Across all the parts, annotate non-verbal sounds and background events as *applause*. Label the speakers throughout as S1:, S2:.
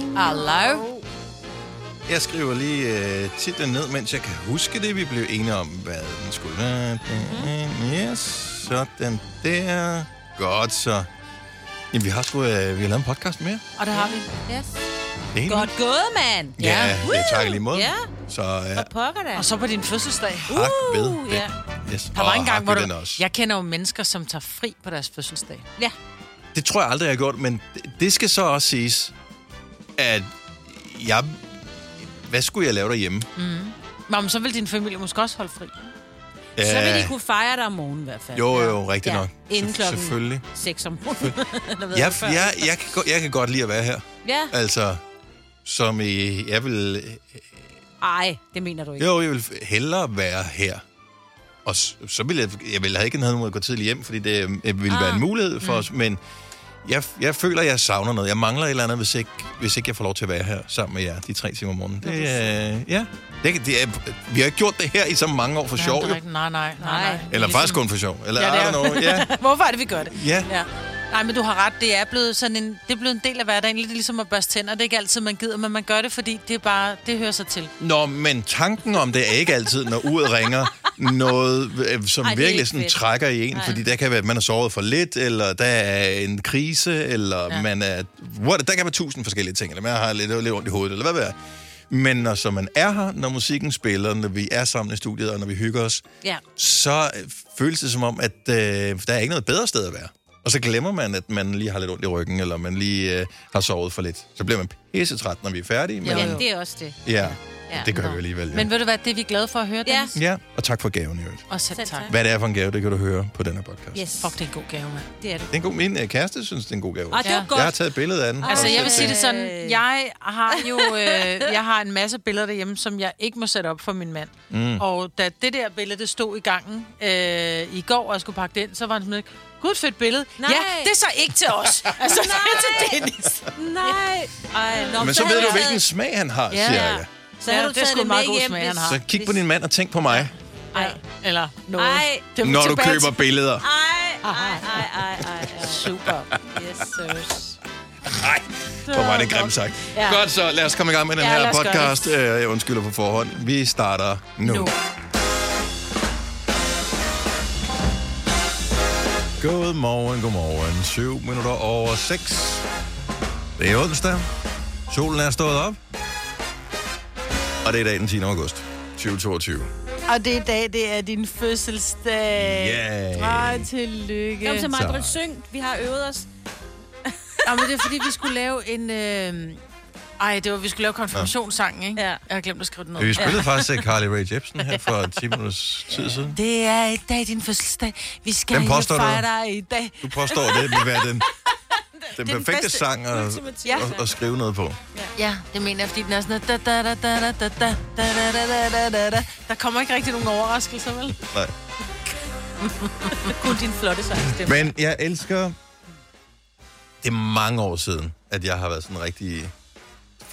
S1: Hello.
S2: Jeg skriver lige øh, titlen ned, mens jeg kan huske det. Vi blev enige om, hvad den skulle være.
S3: Mhm.
S2: Yes, sådan der. Godt så. Jamen, vi har sgu, øh, vi har lavet en podcast mere.
S1: Og det har vi.
S3: Yes.
S2: Det er
S3: Godt
S1: Mm.
S3: gået, mand.
S2: Ja, ja, ja tak i lige måde.
S3: Ja.
S2: Så ja,
S3: Hvad pokker da?
S1: Og så på din fødselsdag.
S2: hak ved
S3: Uh,
S2: den.
S3: ja.
S2: Yes.
S1: Der var
S2: og
S1: en gang,
S2: hak
S1: hvor
S2: ved den
S1: du...
S2: også.
S1: Jeg kender jo mennesker, som tager fri på deres fødselsdag.
S3: Ja.
S2: Det tror jeg aldrig, jeg har gjort, men det- det skal så også siges, at jeg... Hvad skulle jeg lave derhjemme?
S1: Mm. Nå, men så vil din familie måske også holde fri.
S2: Ja,
S3: Så vil de kunne fejre dig om morgenen i hvert fald.
S2: Jo, jo, rigtigt
S3: Ja.
S2: nok.
S3: Inden
S2: Selv-
S3: klokken
S2: Selvfølgelig.
S3: 6 om
S2: *laughs*
S3: morgenen. Eller hvad
S2: Jeg,
S3: det var før.
S2: jeg, jeg, kan, go- jeg kan godt lide at være her.
S3: ja.
S2: Altså, som i, jeg vil,
S3: Ej, det mener du ikke.
S2: jo, jeg vil hellere være her. Og s- så ville jeg, jeg ville have ikke have noget mod at gå tidligt hjem, fordi det øh, ville ah. være en mulighed
S1: Mm.
S2: for os, men jeg, jeg føler, jeg savner noget. Jeg mangler et eller andet, hvis ikke, hvis ikke jeg får lov til at være her sammen med jer de tre timer om morgenen. Det, øh, ja. Det, kan- det er, vi har ikke gjort det her i så mange år for
S1: Ja,
S2: sjov,
S1: det er
S2: jo.
S1: rigtigt. Nej, nej,
S3: Nej.
S1: nej, nej.
S3: Eller
S2: Eller
S1: Ligesom-
S2: faktisk kun for sjov. Eller,
S1: Ja, det
S2: ja, I
S1: er.
S2: don't know. Ja,
S1: *laughs* Hvorfor er det, vi gør det?
S2: ja.
S1: Ja. Nej, men du har ret. Det er blevet sådan en, det er blevet en del af hverdagen. Lidt ligesom at børste tænder. Det er ikke altid, man gider, men man gør det, fordi det er bare, det hører sig til.
S2: Nå, men tanken om det er ikke altid, når uret ringer, noget, øh, som
S3: Ej,
S2: Ej,
S3: det er
S2: virkelig
S3: ikke
S2: sådan
S3: fedt.
S2: trækker i en, fordi der kan være, at man har sovet for lidt, eller der er en krise, eller ja. man er... What, der kan være tusind forskellige ting, eller man har lidt, lidt ondt i hovedet, eller hvad ved jeg. Men når så man er her, når musikken spiller, når vi er sammen i studiet, og når vi hygger os,
S3: Ja.
S2: så øh, føles det som om, at øh, der er ikke noget bedre sted at være. Og så glemmer man, at man lige har lidt ondt i ryggen, eller man lige øh, har sovet for lidt. Så bliver man pissetræt, når vi er færdige. Men,
S3: Ja, det er også det.
S2: ja,
S3: Ja.
S2: det gør vi alligevel. Jo.
S1: Men ved du hvad, det er vi glade for at høre,
S3: Ja.
S1: Dennis.
S2: Ja, og tak for gaven i øvrigt.
S1: Og selv
S3: Selv
S1: tak.
S3: tak.
S2: Hvad det er for en gave, det kan du høre på den her podcast.
S3: Yes,
S1: Fuck, det er en god gave, mand.
S3: det er du.
S2: Det er en god, min øh, kæreste synes, det er en god gave.
S3: Og det var
S1: Ja.
S2: Jeg har
S3: godt.
S2: taget et billede af den.
S1: Altså,
S2: og
S1: jeg
S2: sat
S1: vil sige det sådan,
S3: Øh.
S1: jeg har jo øh, jeg har en masse billeder derhjemme, som jeg ikke må sætte op for min mand. Mm. Og da det der billede, det stod i gangen øh, i går, og jeg skulle pakke det ind, så var han sådan lidt, gud, fedt billede. Nej.
S3: Nej.
S1: Ja, det er så ikke til os. Altså, det er til Dennis.
S3: Nej. Ej, nå,
S2: Men så ved
S3: havde
S2: du,
S3: jeg
S2: hvilken
S3: taget-
S2: smag han har,
S1: Ja.
S2: siger jeg.
S3: Så har
S1: Ja,
S3: du
S1: det er
S3: taget
S1: sgu
S3: det
S1: en
S3: med
S1: meget god
S3: hjem.
S1: smag, han
S3: hvis-
S1: har.
S2: Så kig på din mand og tænk på mig,
S1: Ej. Eller noget.
S3: Ej.
S1: Det er
S2: når du
S1: tilbage
S2: køber
S1: til-
S2: billeder.
S3: Ej, ej, ej, ej, ej, ej.
S1: Super.
S3: Yes, sirs. *laughs*
S2: Nej, hvor var det grimt sagt.
S3: Ja.
S2: Godt så, lad os komme i gang med den
S1: Ja,
S2: her
S1: lad os gøre
S2: podcast. Øh, Jeg undskylder på forhånd. Vi starter nu.
S1: Nu.
S2: Godmorgen, godmorgen. 7 minutter over 6. Det er onsdag. Solen er stået op. Og det er i dag den 10. august 2022.
S1: Og det er i dag, det er din fødselsdag.
S2: Yay.
S1: Ej, tillykke.
S3: Kom så, Margaret,
S2: Så.
S3: syng. Vi har øvet
S1: *laughs*
S3: os.
S1: Ja, men det er fordi, vi skulle lave en... Øh... Ej, det var, vi skulle lave konfirmationssangen, ikke?
S3: Ja.
S1: Jeg har glemt at skrive den
S2: Vi
S1: ned.
S2: spillede faktisk
S1: *laughs*
S2: øh, Carly Rae Jepsen her for 10 minutters tid siden.
S1: Det er i dag din fødselsdag. Vi skal
S2: Hvem
S1: ikke
S2: påstår
S1: fejre
S2: du?
S1: dig i dag.
S2: Du påstår, det vil være *laughs* den,
S1: den
S2: den perfekte
S1: bedste,
S2: sang at,
S3: Ja.
S2: at, at skrive noget på.
S1: *laughs* Ja, det mener jeg, fordi den er sådan noget... Da, da, da, da, da, da, da, da, da, da, da, da, da. Der kommer ikke rigtig nogen overraskelser,
S2: *laughs*
S1: vel?
S2: Nej.
S3: Kun din flotte sangstemme.
S2: Men jeg elsker... Det er mange år siden, at jeg har været sådan en rigtig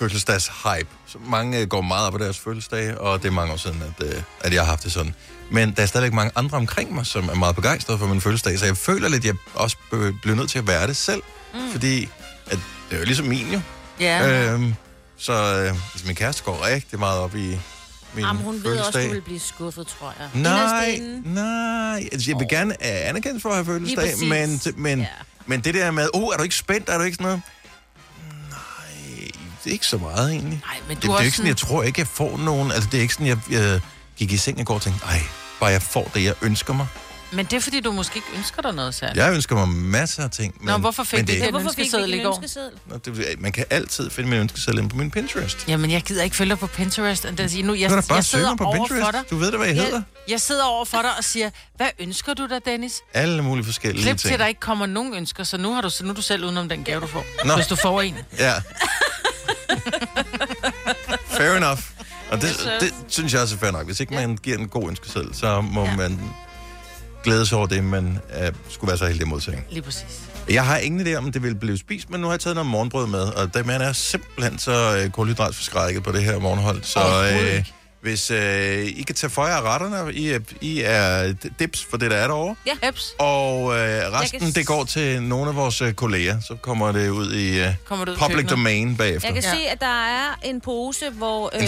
S2: fødselsdags-hype. Så mange øh, går meget op på deres fødselsdag, og det er mange år siden, at, øh, at jeg har haft det sådan. Men der er stadigvæk mange andre omkring mig, som er meget begejstrede for min fødselsdag, så jeg føler lidt, at jeg også be- bliver nødt til at være det selv. Mm. Fordi at, det er jo ligesom min jo.
S1: Ja.
S2: Øhm, så øh, altså, min kæreste går rigtig meget op i min
S3: Jamen, hun ved
S2: fødselsdag.
S3: også, du vil blive skuffet, tror jeg.
S2: Nej,
S3: Inderst inde.
S2: nej. Altså, jeg vil gerne uh, anerkendes for at have fødselsdag,
S3: Lige
S2: men,
S3: præcis.
S2: men, ja.
S3: Ja.
S2: men det der med, oh, er du ikke spændt, er du ikke sådan noget? Nej, det er ikke så meget egentlig.
S1: Nej, men
S2: det,
S1: du
S2: det
S1: er
S2: er
S1: også
S2: ikke sådan, jeg tror ikke, jeg får nogen. Altså, det er ikke sådan, jeg, jeg gik i seng i går og tænkte, ej, bare jeg får det, jeg ønsker mig.
S1: Men det er, fordi du måske ikke ønsker dig noget særligt.
S2: Jeg ønsker mig masser af ting. Men,
S1: Nå, hvorfor fik
S2: men
S1: du
S2: det,
S1: det?
S3: Men hvorfor fik vi
S1: ønskeseddel
S3: ikke
S1: i
S3: en
S1: går?
S3: ønskeseddel?
S2: Nå, det? Man kan altid finde min ønskeseddel inde på min Pinterest.
S1: Jamen, jeg gider ikke følge dig på Pinterest. Det vil sige, nu, jeg,
S2: Du kan da bare
S1: jeg
S2: søge
S1: sidder
S2: mig på
S1: over for dig.
S2: Pinterest. Du ved da, hvad jeg hedder.
S1: Jeg sidder over for dig og siger, hvad ønsker du dig, Dennis?
S2: Alle mulige forskellige
S1: Klip til,
S2: ting.
S1: at der ikke kommer nogen ønsker, så nu, har du, så nu er du selv udenom den gave, du får.
S2: Nå.
S1: Nå. Hvis du får en. *laughs*
S2: Ja. fair enough. Og det, det synes jeg også er fair nok. Hvis ikke man giver en god ønskeseddel, så må ja. man glæde sig over det, man øh, skulle være så heldig at modtage.
S1: Lige præcis.
S2: Jeg har ingen idé om, det vil blive spist, men nu har jeg taget noget morgenbrød med, og der man er simpelthen så øh, kulhydratforskrækket på det her morgenhold, så
S1: Overhovedet
S2: øh,
S1: ikke.
S2: Hvis øh, I kan tage for jer af retterne, I er, I er dips for det, der er derovre.
S3: Ja. Eps.
S2: Og øh, resten,
S3: Jeg kan s-
S2: det går til nogle af vores øh, kolleger. Så kommer det ud i øh,
S1: Kommer det ud i
S2: public
S1: køkkenet.
S2: domain bagefter.
S3: Jeg kan
S1: Ja.
S3: ja. se, at der er en pose, hvor... Øh,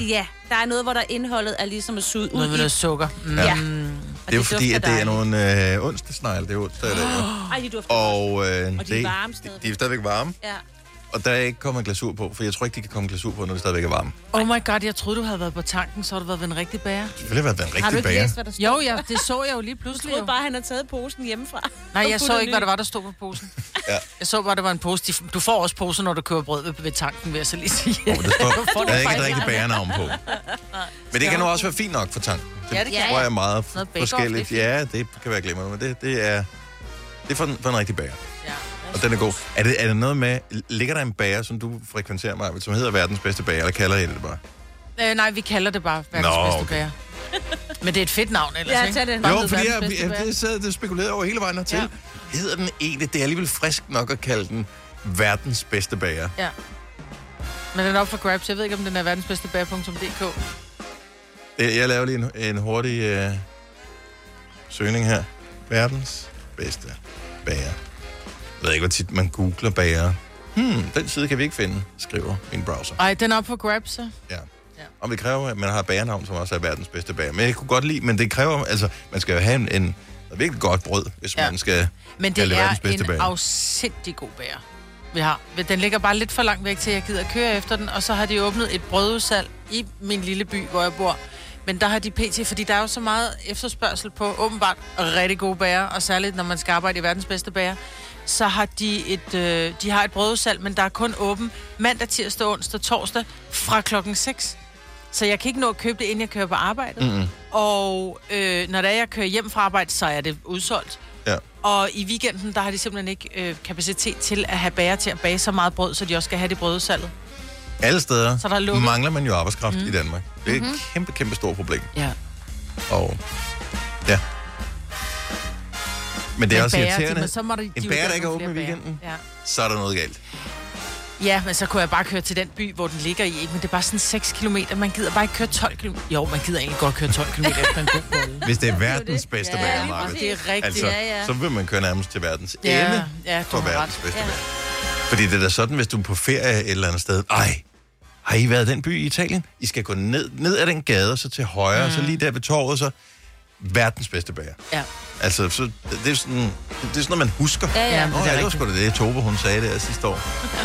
S3: indhold- Ja, der er noget, hvor der indholdet er ligesom at suge ud
S1: Noget med
S3: i.
S1: noget sukker. Mm.
S3: Ja.
S2: det er jo fordi, at det er nogle øh, onsdagsnegle, det er onsdag i dag. jo.
S3: *gasps* *gasps* Ej, de dufter godt.
S2: Og, øh,
S3: Og de er
S2: det,
S3: varme
S2: de,
S3: stadigvæk.
S2: de er stadigvæk varme,
S3: Ja.
S2: og der er ikke kommet glasur på, for jeg tror ikke, de kan komme glasur på, når det stadigvæk er varme.
S1: Oh my god, jeg troede, du havde været på tanken, så har du været ved en rigtig bager.
S2: Det ville have været en
S3: Har du
S2: rigtig
S3: ikke
S2: bager.
S3: læst, hvad der står?
S1: Jo, ja, det så jeg jo lige
S3: Jeg
S1: pludselig.
S3: troede
S1: Jo.
S3: bare, at han havde taget posen hjemmefra.
S1: Nej, jeg så ikke, hvad der var, der stod på posen.
S2: Ja.
S1: Jeg så bare, det var en pose. De- Du får også poser, når du køber brød ved, ved tanken, vil jeg så lige sige.
S2: Oh, det
S1: *laughs*
S2: står,
S1: du
S2: der er ikke
S1: fejl?
S2: et rigtigt bagernavn
S1: *laughs*
S2: på. Men det kan nu også være fint nok for tanken. Det
S1: Ja, det
S3: Ja,
S1: kan
S2: tror
S1: ja.
S2: jeg er meget
S1: Noget bake-off,
S2: forskelligt.
S1: det
S2: Ja, det kan være glemmer, men det, det er, det er for, en- for en rigtig bager.
S1: ja.
S2: Og den er god. Er det, er det noget med, ligger der en bager, som du frekventerer mig, som hedder verdens bedste bager, eller kalder I det bare?
S1: Øh, nej, vi kalder det bare verdens
S2: Nå,
S1: bedste
S2: okay.
S1: bager. *laughs* Men det er et fedt navn ellers,
S3: Ja,
S1: ikke?
S3: tag det.
S1: Bare
S2: Jo,
S1: hed
S2: fordi
S1: verdens
S2: jeg,
S1: bedste
S2: jeg,
S1: bager.
S2: jeg sad og spekulerede over hele vejen hertil.
S1: Ja.
S2: Ja. Hedder den egentlig, det er alligevel frisk nok at kalde den verdens bedste bager.
S1: Ja. Men den er op for grabs. Jeg ved ikke, om den er verdensbedstebager.dk.
S2: Øh, Jeg laver lige en, en hurtig øh, søgning her. Verdens bedste bager. Jeg ved ikke, hvor tit man googler bager. Hmm, den side kan vi ikke finde, skriver min browser.
S1: Ej, den er op for grabs, så.
S2: Ja.
S1: Ja.
S2: Og det kræver, at man har bagernavn, som også er verdens bedste bager. Men jeg kunne godt lide, men det kræver, altså, man skal jo have en, en noget virkelig godt brød, hvis
S1: Ja.
S2: ja. man skal...
S1: Men det
S2: Kalde det
S1: er
S2: verdens bedste
S1: en
S2: bager.
S1: afsindig god bager, vi har. Den ligger bare lidt for langt væk, til jeg gider køre efter den. Og så har de åbnet et brødudsalg i min lille by, hvor jeg bor. Men der har de pt, fordi der er jo så meget efterspørgsel på åbenbart rigtig gode bager, og særligt når man skal arbejde i verdens bedste bager, så har de et, øh, de har et brødudsalg, men der er kun åben mandag, tirsdag, onsdag, torsdag fra klokken 6. Så jeg kan ikke nå at købe det, inden jeg kører på arbejde. Mm-hmm. Og øh, når det er, jeg kører hjem fra arbejde, så er det udsolgt.
S2: Ja.
S1: Og i weekenden, der har de simpelthen ikke øh, kapacitet til at have bager til at bage så meget brød, så de også skal have det brødudsalget.
S2: Alle steder
S1: Så der er lukket. Mhm.
S2: mangler man jo arbejdskraft mm. i Danmark. Det er et kæmpe, kæmpe stort problem.
S1: Ja.
S2: Og ja. Men det er også irriterende.
S1: så må de, de
S2: En
S1: jo
S2: bager, der
S1: gerne
S2: ikke er
S1: have
S2: åben i
S1: flere bager.
S2: weekenden,
S1: Ja.
S2: så er der noget galt.
S1: ja, men så kunne jeg bare køre til den by, hvor den ligger i, ikke? Men det er bare sådan 6 km. Man gider bare ikke køre 12 km. Jo, man gider egentlig godt køre 12 km efter en god brød.
S2: Hvis det er verdens bedste
S3: Ja,
S2: ja,
S3: lige
S2: bagermarked,
S1: Det er rigtigt.
S2: altså,
S1: Altså,
S3: Ja, ja.
S2: så vil man køre nærmest til verdens
S1: Ja,
S2: ende
S1: ja, du
S2: for
S1: har
S2: verdens
S1: ret.
S2: bedste
S3: Ja.
S2: ja. Fordi det er da sådan, hvis du er på ferie et eller andet sted. Ej, har I været i den by i Italien? I skal gå ned, ned ad den gade, og så til højre, mm. så lige der ved torvet, så verdens bedste bager.
S1: ja.
S2: Altså, så, det, er sådan, det er sådan noget, man husker.
S3: Ja, ja.
S2: Nå,
S1: Det er
S2: ja, det var
S1: rigtigt.
S2: sgu da det, Tove, hun sagde det sidste år.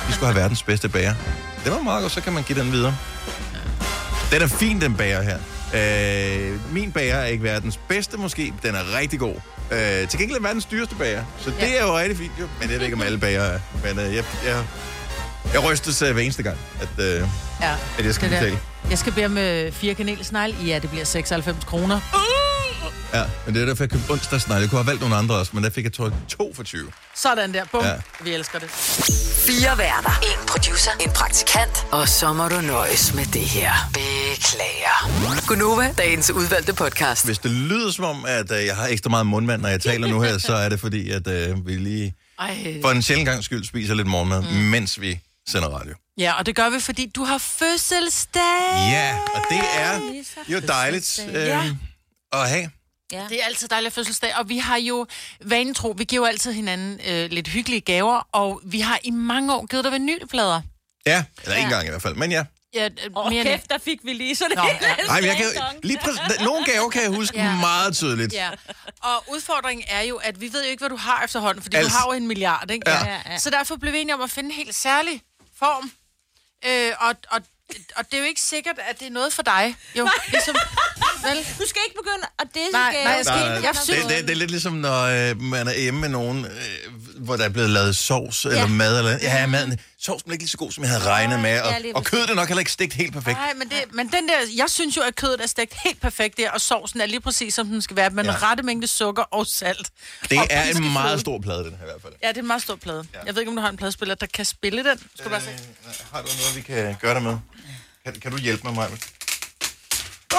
S2: Vi skulle have verdens bedste bager. Det var meget godt, så kan man give den videre. Den er fin, den bager her. Øh, min bager er ikke verdens bedste måske, den er rigtig god. Øh, til gengæld er verdens dyreste bager, så det er jo rigtig fint jo. Men jeg ved ikke, om alle bager er. Men øh, jeg, jeg, jeg rystes øh, hver eneste gang, at, øh,
S1: ja.
S2: at jeg skal
S1: Det der.
S2: betale.
S1: Jeg skal bære med fire kanelsnegle. Ja, det bliver 96 kroner.
S2: Uh! Ja, men det er derfor, jeg købte onsdagsnegle. Jeg kunne have valgt nogle andre også, men der fik jeg tror, jeg, to for 20.
S1: Sådan der. Bum.
S2: Ja.
S1: Ja. Vi elsker det.
S4: Fire værter. En producer. En praktikant. Og så må du nøjes med det her. Beklager. Gunova, dagens udvalgte podcast.
S2: Hvis det lyder som om, at øh, jeg har ekstra meget mundvand, når jeg taler nu her, så er det fordi, at øh, vi lige
S1: Ej.
S2: for en sjældent gang skyld spiser lidt morgenmad, mm. mens vi sender radio.
S1: Ja, og det gør vi, fordi du har fødselsdag.
S2: Ja, og det er jo dejligt øh, at have.
S1: Det er altid dejligt at have fødselsdag, og vi har jo vanetro, vi giver jo altid hinanden øh, lidt hyggelige gaver, og vi har i mange år givet dig vinylplader.
S2: Ja, eller ikke engang i hvert fald, men ja.
S1: Ja, øh,
S3: Åh,
S1: mere end-
S3: kæft, der fik vi lige sådan
S1: Nå,
S3: en.
S1: ja.
S2: Ej, men jeg kan, lige præ- nogle gaver kan jeg huske ja. meget tydeligt.
S1: Ja, og udfordringen er jo, at vi ved jo ikke, hvad du har efterhånden, fordi
S2: Altså-
S1: du har jo en milliard, ikke?
S2: Ja.
S3: Ja, ja.
S1: Så derfor blev vi enige om at finde en helt særlig form, øh, og, og, og det er jo ikke sikkert, at det er noget for dig. Jo, ligesom, vel?
S3: Du skal ikke begynde at disse
S1: Nej,
S3: gaver.
S1: nej, jeg skal
S2: Der,
S1: ikke.
S2: er-
S1: Jeg synes-
S2: det, det, det er lidt ligesom, når øh, man er hjemme med nogen, øh, hvor der er blevet lavet sovs eller mad. Eller, ja, maden, sovsen er ikke lige så god, som jeg havde regnet med, og,
S3: ja, lige
S2: og kødet er nok heller ikke stegt helt perfekt.
S1: Nej, men, det, men den der, jeg synes jo, at kødet er stegt helt perfekt der, og sovsen er lige præcis, som den skal være, med ja.
S2: Ja.
S1: den rette mængde sukker og salt.
S2: Det
S1: og
S2: er en
S1: piskefløde.
S2: meget stor plade, den her i hvert fald.
S1: Ja, det er en meget stor plade. Ja. Jeg ved ikke, om du har en pladespiller, der kan spille den. Skal du bare se?
S2: Har du noget, vi kan gøre dig med? Kan, kan du hjælpe mig, Maja?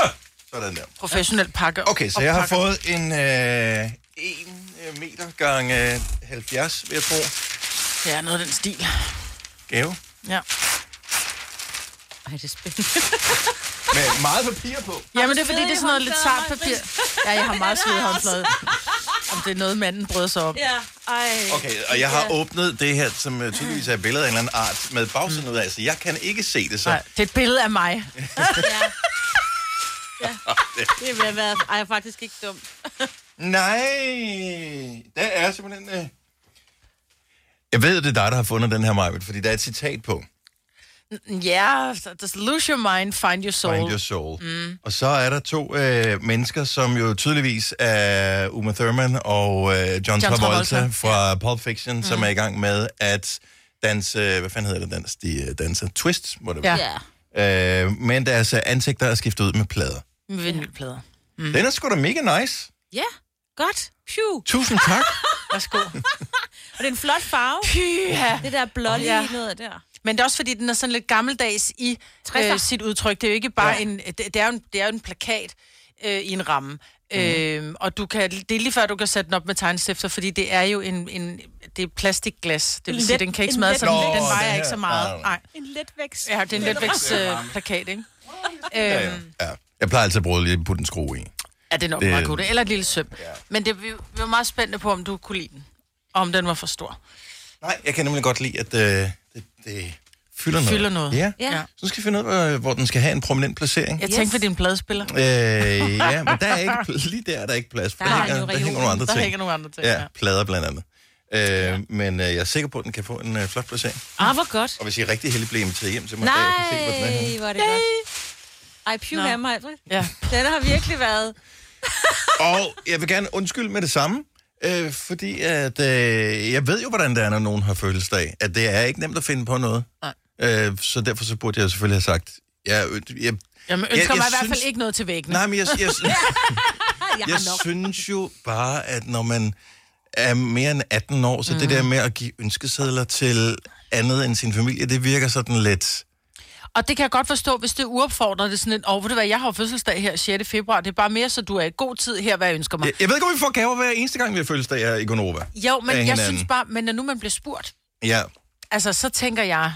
S2: Ah, sådan der.
S1: Professionel pakke.
S2: Okay, så jeg har
S1: oppakker.
S2: fået en øh, 1 meter gange øh, 70, vil jeg tro,
S1: Ja, noget af den stil.
S2: gave.
S1: Ja.
S3: Ej, det er spændende.
S2: *laughs* Med meget papir på.
S1: Jamen, det er fordi, det er sådan noget lidt sart papir. Ja, jeg har meget svedet håndflade.
S3: *laughs*
S1: Om det er noget, manden bryder sig om.
S3: Ja, ej.
S2: Okay, og jeg har åbnet det her, som øh, tydeligvis er et billede af en eller anden art, med bagsiden ud af, så jeg kan ikke se det så.
S1: Mm. Nej, det er et billede af mig.
S3: Det vil være... Ej, jeg er faktisk ikke dum.
S2: Nej, der er simpelthen... Øh... Jeg ved, det er dig, der har fundet den her, Majbet, fordi der er et citat på.
S1: *laughs* Ja, så- så lose your mind, find your soul.
S2: Find your soul. Mm. Og så er der to øh, mennesker, som jo tydeligvis er Uma Thurman og øh, John, John Travolta,
S1: Travolta,
S2: fra ja. Pulp Fiction, mm. som er i gang med at danse... øh, Hvad fanden hedder det dans? De øh, danser twist, må det
S1: Ja.
S2: være.
S3: Ja.
S2: Ja. Øh, men deres øh, ansigter er skiftet ud med plader.
S1: Med vinylplader.
S2: Mm. Den er sgu da mega nice.
S3: Ja, godt. Phew.
S2: Tusind
S3: *laughs*
S2: tak.
S1: Værsgo.
S3: Og det er en flot farve.
S1: Pyha.
S3: Det der blålige
S1: Ja.
S3: ja. noget der.
S1: Men det er også fordi, den er sådan lidt gammeldags i øh,
S3: 60'er.
S1: sit udtryk. Det er jo ikke bare
S2: Ja.
S1: ja. en, øh, det, det er jo en... Det er jo en plakat øh, i en ramme. Mm.
S3: Mhm.
S1: Øh, og du kan, det er lige før, du kan sætte den op med tegnstifter, fordi det er jo en, en det er plastikglas. Det vil
S3: En
S1: sige,
S3: let-
S1: den kan ikke
S3: en
S1: smadre
S3: let-
S1: sig. Den,
S2: Nå,
S1: den
S2: den
S1: vejer
S2: her.
S1: ikke så
S2: Nej,
S1: meget.
S2: nej.
S1: Nej.
S3: En let vækst.
S1: Ja, det er en letvækst øh, plakat, ikke?
S2: Ja, ja.
S1: Øhm,
S2: ja. Jeg plejer altid at bruge lige at putte en skrue i.
S1: Ja, det er nok
S2: Det-
S1: det... meget godt. Eller et lille søm. Ja. Men det, vi, vi var meget spændte på, om du kunne lide den. Og om den var for stor.
S2: Nej, jeg kan nemlig godt lide, at øh, det, det fylder noget.
S1: Fylder noget.
S2: Ja.
S3: Ja.
S1: Ja.
S2: Så skal vi finde ud af, hvor den skal have en prominent placering.
S1: Jeg yes.
S3: Yes.
S1: tænkte på din pladespiller. Der,
S2: Øh, ja, men der er ikke, pl- lige der er der ikke plads, for der,
S3: Der
S2: der,
S3: er
S2: hænger,
S3: jo
S2: der
S3: reolen.
S2: hænger nogle andre
S1: der
S2: ting.
S1: hænger nogle andre ting.
S2: ja, plader blandt andet. Øh, Men øh, jeg er sikker på, at den kan få en øh, flot placering.
S3: Ah, hvor godt.
S2: Og hvis I er rigtig heldig, bliver inviteret hjem til mig, jeg kan se, hvor den er.
S3: Nej, hvor er det godt. Ej,
S1: Nå.
S3: pyha, Majbrit.
S1: ja.
S3: Den har virkelig været...
S2: Og jeg vil gerne undskylde med det samme, øh, fordi at, øh, jeg ved jo, hvordan det er, når nogen har fødselsdag. At det er ikke nemt at finde på noget.
S1: Nej.
S2: Øh, så derfor så burde jeg selvfølgelig have sagt, jeg, øh, jeg,
S1: Jamen, ønsker jeg,
S2: jeg
S1: mig i hvert
S2: synes-
S1: fald ikke noget til væggene.
S2: nej, men jeg,
S1: *laughs*
S2: jeg, jeg,
S3: Jeg
S2: jeg
S3: har nok.
S2: synes jo bare, at når man er mere end 18 år, så mm. det der med at give ønskesedler til andet end sin familie, det virker sådan lidt...
S1: Og det kan jeg godt forstå, hvis det uopfordrer det er sådan lidt. Åh, oh, ved du hvad, jeg har jo fødselsdag her 6. februar. Det er bare mere, så du er i god tid her, hvad jeg ønsker mig.
S2: Jeg, jeg ved ikke, om vi får gaver hver eneste gang, vi har fødselsdag her i Gonova.
S1: Jo, men
S2: Af
S1: jeg
S2: hinanden.
S1: synes bare, men når nu man bliver spurgt,
S2: Ja.
S1: altså, så tænker jeg...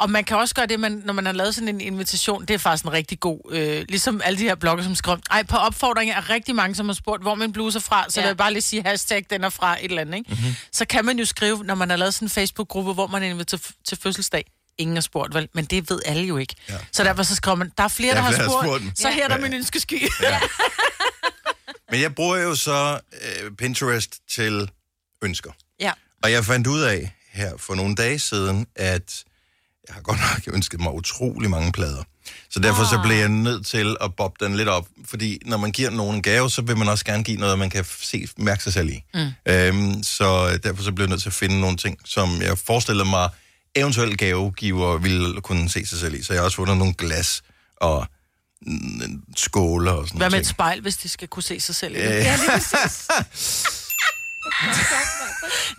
S1: Og man kan også gøre det, man, når man har lavet sådan en invitation, det er faktisk en rigtig god, øh, ligesom alle de her blogger, som skriver, ej, på opfordring er rigtig mange, som har spurgt, hvor min bluse er fra, så ja.
S3: Ja.
S1: vil jeg bare lige sige, hashtag, den er fra et eller andet, ikke?
S2: Mhm.
S1: Mm-hmm. Så kan man jo skrive, når man har lavet sådan en Facebook-gruppe, hvor man er inviteret til, til fødselsdag, ingen har spurgt, vel? Men det ved alle jo ikke. Ja. Så derfor så skriver man, der er flere, der,
S2: Der er
S1: har
S2: flere, der har
S1: spurgt,
S2: spurgt.
S1: spurgt så her er der
S2: Ja.
S1: min ønskesky.
S2: ja. men jeg bruger jo så øh, Pinterest til ønsker.
S1: *laughs* ja.
S2: Og jeg fandt ud af her for nogle dage siden, at jeg har godt nok ønsket mig utrolig mange plader. Så derfor så blev jeg
S1: Ah.
S2: nødt til at bobbe den lidt op. Fordi når man giver nogen en gave, så vil man også gerne give noget, man kan se, mærke sig selv i. Mm. Øhm, så derfor så blev jeg nødt til at finde nogle ting, som jeg forestillede mig, eventuelle gavegiver ville kunne se sig selv i. Så jeg har også fundet nogle glas og mm, skåler og sådan
S1: Hvad med
S2: noget.
S1: et spejl, hvis de skal kunne se sig selv?
S2: Øh.
S1: Øh.
S2: *laughs*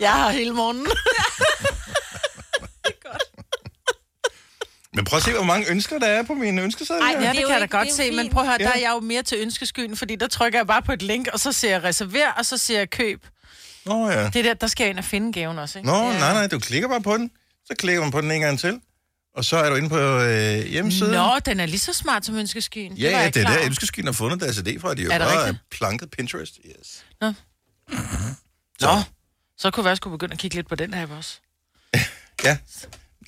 S1: Jeg har hele *laughs* morgenen.
S2: Men prøv at se, hvor mange ønsker der er på min ønskeseddel.
S3: Ej,
S2: her.
S1: Ja,
S3: er
S1: det, det
S3: jo
S1: kan jeg da
S3: ikke-
S1: godt
S3: det er
S1: se,
S3: jo
S1: men
S3: fint.
S1: prøv at høre, der
S2: Ja.
S1: er jeg jo mere til ønskeskyen, fordi der trykker jeg bare på et link, og så ser jeg reserver, og så ser jeg køb.
S2: Nå ja.
S1: Det er der, der skal jeg ind og finde gaven også, ikke?
S2: Nå, ja. nej, nej, du klikker bare på den. Så klikker man på den en gang til. Og så er du inde på øh, hjemmesiden.
S1: Nå, den er lige så smart som ønskeskyen.
S2: ja,
S1: var
S2: ja,
S1: jeg
S2: det er
S1: klar
S2: der,
S1: over.
S2: ønskeskyen har fundet deres idé fra. De er jo
S1: Er det
S2: bare
S1: rigtigt?
S2: planket Pinterest. Yes.
S1: Nå.
S2: Så,
S1: Nå, så kunne vi også kunne begynde at kigge lidt på den app også.
S2: ja.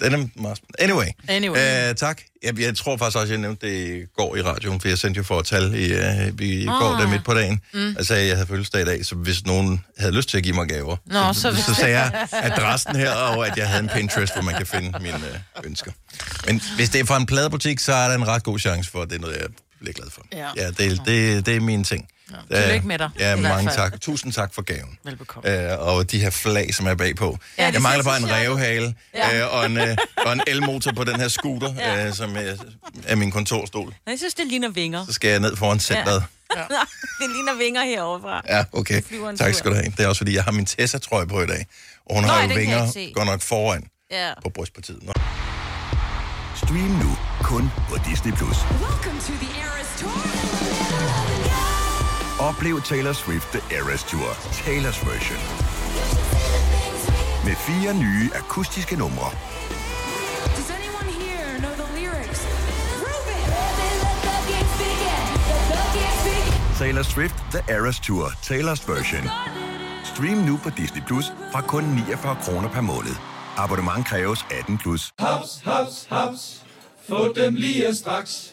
S2: Den er meget spændende. Anyway.
S1: Anyway.
S2: Øh, tak. Jeg, jeg tror faktisk også, jeg nævnte det i går i radioen, for jeg sendte jo for et tal i, øh,
S1: Ah.
S2: i går der midt på dagen. Mm. Og sagde, at jeg havde fødselsdag i dag, så hvis nogen havde lyst til at give mig gaver,
S1: Nå, så
S2: så sagde jeg adressen her, og at jeg havde en Pinterest, hvor man kan finde mine øh, ønsker. Men hvis det er fra en pladebutik, så er der en ret god chance for, at det er noget, jeg bliver glad for.
S1: Ja.
S2: ja det, det, det er min ting. Ja,
S1: tillykke med dig,
S2: Ja,
S1: i hvert
S2: mange
S1: fald.
S2: tak. Tusind tak for gaven.
S1: Velbekomme.
S2: Øh, og de her flag, som er bagpå. Ja,
S1: Ja,
S2: jeg
S1: det
S2: mangler
S3: ser
S2: bare
S3: så
S2: en
S3: sjovt ud.
S2: revhale ja. øh, og, en,
S3: *laughs*
S2: øh, og en elmotor på den her scooter, ja. øh, som er, er min kontorstol.
S3: Men Jeg synes, det ligner vinger.
S2: Så skal jeg ned foran
S3: *laughs*
S2: centret.
S3: det ligner vinger herovre.
S2: Ja, okay.
S3: flyver en
S2: Tak
S3: tur.
S2: skal du have. Det er også, fordi jeg har min Tessa-trøje på i dag. Og hun har
S3: Nej,
S2: jo
S3: den kan jeg
S2: vinger
S3: ikke se.
S2: godt nok foran
S3: Ja.
S2: på brystpartiet. Nå.
S5: Stream nu kun på Disney+. Plus. Oplev Taylor Swift The Eras Tour, Taylor's version. Med fire nye akustiske numre. Taylor Swift The Eras Tour, Taylor's version. Stream nu på Disney Plus fra kun 49 kroner per måned. Abonnement kræves 18 plus.
S6: Haps, haps, haps. Få dem lige straks.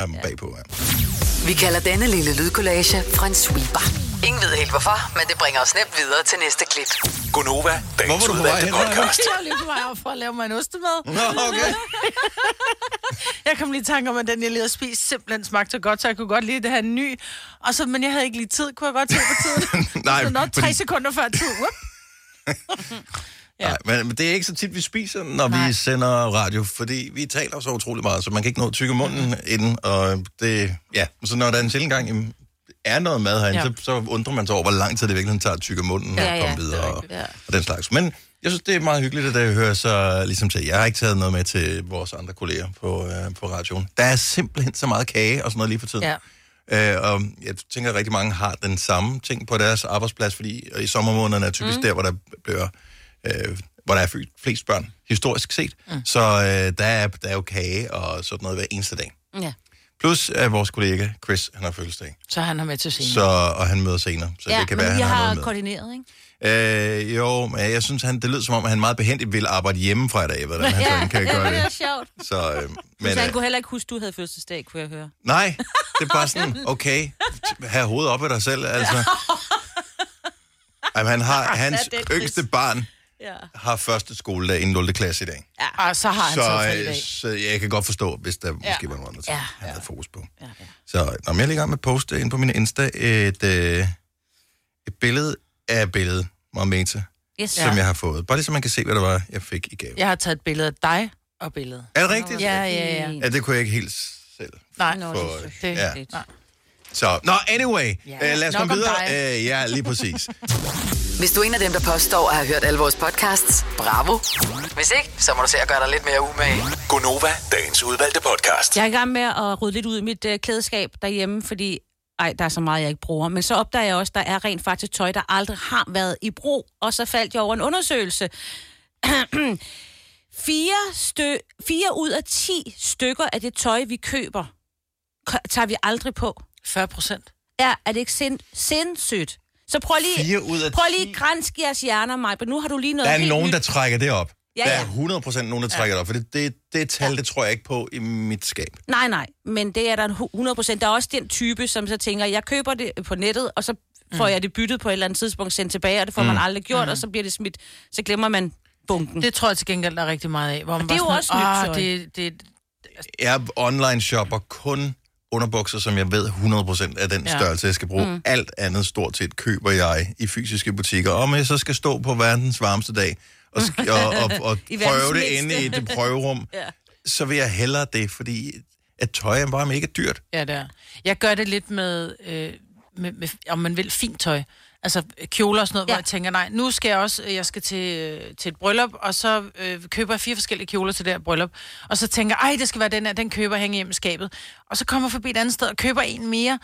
S2: Jamen, bagpå, ja.
S4: Vi kalder denne lille lydkollage en sweeper. Ingen ved helt hvorfor, men det bringer os nemt videre til næste klip.
S5: Gunova, dagens
S2: Hvor var du på vej udvalgte hen, Maja? podcast.
S1: Jeg var lige på vej op for at lave mig en ostemad.
S2: Nå, okay.
S1: Jeg kom lige i tanke om, at den, jeg lige havde spist, simpelthen smagte så godt, så jeg kunne godt lide det her ny. Og så, men jeg havde ikke lige tid, kunne jeg godt tage på tiden.
S2: *laughs* *laughs* Nej,
S1: så nå, tre
S2: fordi-
S1: sekunder før tid. Whoop. Ja.
S2: Nej, men, men det er ikke så tit, vi spiser, når Nej. vi sender radio, fordi vi taler så utrolig meget, så man kan ikke nå at tykke munden inden, og det, ja, så når der er en sjældent gang, jamen, er noget mad herinde, ja.
S1: Ja.
S2: så, så undrer man sig over, hvor lang tid det virkelig tager at tykke munden ja, og
S3: ja,
S2: komme
S3: det er
S2: videre og,
S3: rigtigt, ja.
S2: og den slags. Men jeg synes, det er meget hyggeligt, at det hører så ligesom til. Jeg har ikke taget noget med til vores andre kolleger på, øh, på radioen. Der er simpelthen så meget kage og sådan noget lige for tiden.
S1: Ja.
S2: Øh, og jeg tænker, at rigtig mange har den samme ting på deres arbejdsplads, fordi i sommermånederne er typisk mm. der, hvor der bliver... Øh, hvor der er født flest børn, historisk set. Mm. Så øh, der, er, der er jo kage og sådan noget hver eneste dag.
S3: Ja.
S2: Plus at vores kollega Chris, han har fødselsdag,
S1: Så han har med til scenen.
S2: så, og han møder senere, så
S3: ja,
S2: det kan
S3: men
S2: være,
S3: vi
S2: han har
S3: har
S2: noget med.
S3: koordineret, ikke?
S2: Øh, jo, men jeg synes, han, det lød som om, at han meget behendigt ville arbejde hjemmefra i dag,
S3: *laughs*
S2: hvordan han sådan kan gøre
S3: det er
S2: det.
S3: sjovt.
S2: Så, øh, men,
S3: Men, så han
S2: øh,
S3: kunne heller ikke huske, du havde fødselsdag, kunne jeg høre.
S2: nej, det
S3: *laughs*
S2: er bare sådan, okay, t- have hovedet op af dig selv, altså. Jamen, han
S3: *laughs*
S2: har, hans
S3: det er trist.
S2: yngste barn
S3: Ja.
S2: har første skoledag inden 0. klasse i dag.
S1: Og så har han så,
S2: Så,
S1: taget fri i
S2: øh,
S1: dag.
S2: så jeg kan godt forstå, hvis der ja. måske var nogle andre ting,
S3: Ja,
S2: han havde fokus på.
S3: Ja, ja.
S2: Så når jeg er lige i gang med at poste ind på min Insta et, øh, et billede af et billede, meget meta,
S3: Yes.
S2: ja. som jeg har fået. Bare lige så man kan se, hvad det var, jeg fik i gave. Ja.
S1: Jeg har taget et billede af dig og billedet.
S2: Er det rigtigt?
S1: Ja, ja, ja.
S2: ja. det kunne jeg ikke helt selv.
S1: Nej,
S3: Nå,
S2: For,
S3: det er så
S1: det-
S2: ja.
S3: hyggeligt.
S2: Så, nå, anyway, ja.
S1: Ja.
S2: øh, lad os
S1: Nok
S2: komme
S1: om
S2: videre. Øh, ja, lige
S3: *laughs*
S2: præcis.
S4: Hvis du er en af dem, der påstår at have hørt alle vores podcasts, bravo. Hvis ikke, så må du se at gøre dig lidt mere umage.
S5: Gunova, dagens udvalgte podcast.
S3: Jeg er i gang med at rydde lidt ud i mit øh, klædeskab derhjemme, fordi ej, der er så meget, jeg ikke bruger. Men så opdager jeg også, der er rent faktisk tøj, der aldrig har været i brug. Og så faldt jeg over en undersøgelse. *clears throat* fire, stø- fire ud af ti stykker af det tøj, vi køber, k- tager vi aldrig på.
S1: 40 procent.
S3: Ja, er det ikke sind- sindssygt? Så prøv lige,
S2: Fire ud af
S3: prøv
S2: ti?
S3: lige at grænske jeres hjerner, Maj, men nu har du lige noget
S2: Der er
S3: helt
S2: nogen,
S3: nyt.
S2: der trækker det op.
S3: Ja,
S2: Der
S3: ja.
S2: er 100% nogen, der trækker det op, for det, det, det tal, det tror jeg ikke på i mit skab.
S3: Nej, nej, men det er der en hu- 100%. Der er også den type, som så tænker, jeg køber det på nettet, og så får mm. jeg det byttet på et eller andet tidspunkt sendt tilbage, og det får mm. man aldrig gjort, mm. og så bliver det smidt, så glemmer man bunken. Det,
S1: Det tror jeg til gengæld, der er rigtig meget af. Hvor man
S3: det er
S1: bare
S3: jo
S1: sådan,
S3: også nyt tøj."
S1: "Ah, det, det,
S2: Jeg online shopper kun underbukser, som jeg ved 100% af den
S1: Ja.
S2: størrelse, jeg skal bruge. Mm. Alt andet stort set køber jeg i fysiske butikker. Om jeg så skal stå på verdens varmeste dag og, sk- og, og,
S1: *laughs*
S2: og
S3: *laughs* I verdens
S2: prøve det
S3: mindste.
S2: inde i det
S3: *laughs*
S2: prøverum, ja. så vil jeg hellere det, fordi at tøj er bare mega dyrt.
S1: Ja, det er. Jeg gør det lidt med, øh, med, med om man vil, fint tøj. Altså øh, kjoler og sådan noget, ja.
S3: Ja.
S1: hvor jeg tænker, nej, nu skal jeg også, øh, jeg skal til, øh, til et bryllup, og så øh, køber jeg fire forskellige kjoler til det her bryllup, og så tænker jeg, ej, det skal være den her, den køber jeg hænger hjemme i skabet. Og så kommer jeg forbi et andet sted og køber en mere,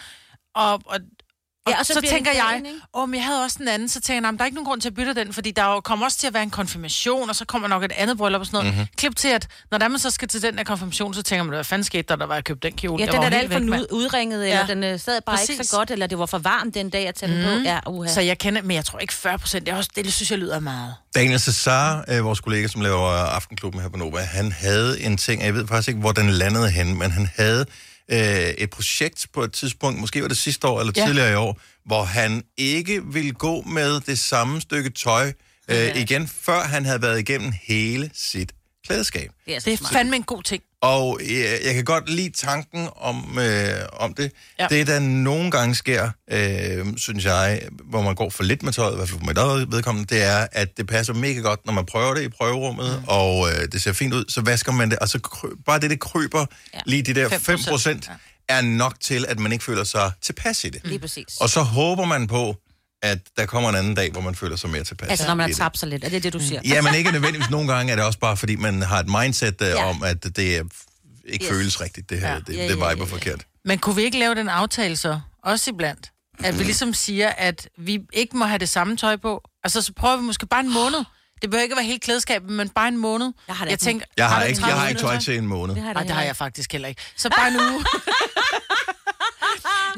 S1: og, og, og, ja, og så, så
S3: bliver det
S1: tænker
S3: en
S1: jeg,
S3: plan, ikke?
S1: åh, oh, men jeg havde også den anden, så tænker jeg, nej, men der er ikke nogen grund til at bytte den, fordi der jo kommer også til at være en konfirmation, og så kommer nok et andet bryllup og sådan noget. Mm-hmm. Klip til, at når der man så skal til den der konfirmation, så tænker man, hvad fanden skete der, der var jeg købte den kjole?
S3: ja,
S1: Jeg
S3: den
S1: var
S3: er da
S1: helt
S3: alt for
S1: væk, mand.
S3: nu- udringet, eller
S1: Ja.
S3: ja. den øh, sad bare ikke
S1: Præcis. Mm.
S3: så godt, eller det var for varmt den dag, jeg tager den på. Ja, uha.
S1: Så jeg kender, men jeg tror ikke 40 procent. Det, er også, det synes jeg lyder meget.
S2: Daniel Cesar, øh, vores kollega, som laver Aftenklubben her på Nova, han havde en ting, og jeg ved faktisk ikke, hvor den landede hen, men han havde øh, et projekt på et tidspunkt, måske var det sidste år eller ja.
S1: Ja.
S2: tidligere i år, hvor han ikke ville gå med det samme stykke tøj øh, ja. igen, før han havde været igennem hele sit klædeskab.
S3: det er,
S1: Det er fandme en god ting.
S2: Og jeg, jeg kan godt lide tanken om, øh, om det. Ja.
S1: Ja.
S2: Det, der nogle gange sker, øh, synes jeg, hvor man går for lidt med tøjet, i hvert fald for mit eget vedkommende, det er, at det passer mega godt, når man prøver det i prøverummet, mm. og øh, det ser fint ud, så vasker man det, og så kry- bare det, det kryber ja. lige de der 5%,
S1: 5%,
S2: 5% er nok til, at man ikke føler sig tilpas i det.
S1: Mm.
S3: Lige præcis.
S2: Og så håber man på, at der kommer en anden dag, hvor man føler sig mere tilpas.
S3: Altså, når man
S2: i
S3: har
S2: det.
S3: tabt sig lidt. Er det det,
S1: Mm.
S3: du siger? Altså,
S2: Ja, men ikke nødvendigvis. Nogle gange er det også bare, fordi man har et mindset uh,
S3: Ja.
S2: om, at det er ikke
S3: Yes.
S2: yes. føles rigtigt, det her.
S1: Ja.
S2: Det,
S3: Ja,
S2: det
S3: ja,
S2: viber
S3: ja, ja.
S2: forkert.
S1: Men kunne vi ikke lave den aftale så, også iblandt, at vi
S2: Mm.
S1: ligesom siger, at vi ikke må have det samme tøj på? Altså, så prøver vi måske bare en måned. Det behøver ikke være helt klædeskabet, men bare en måned.
S3: Jeg har det
S1: jeg
S3: ikke.
S1: tænker,
S2: Jeg har,
S1: du
S2: ikke,
S1: 30
S2: jeg har ikke tøj
S1: minutter?
S2: til en måned.
S3: har
S1: Nej, det har jeg faktisk heller ikke. Så bare en uge.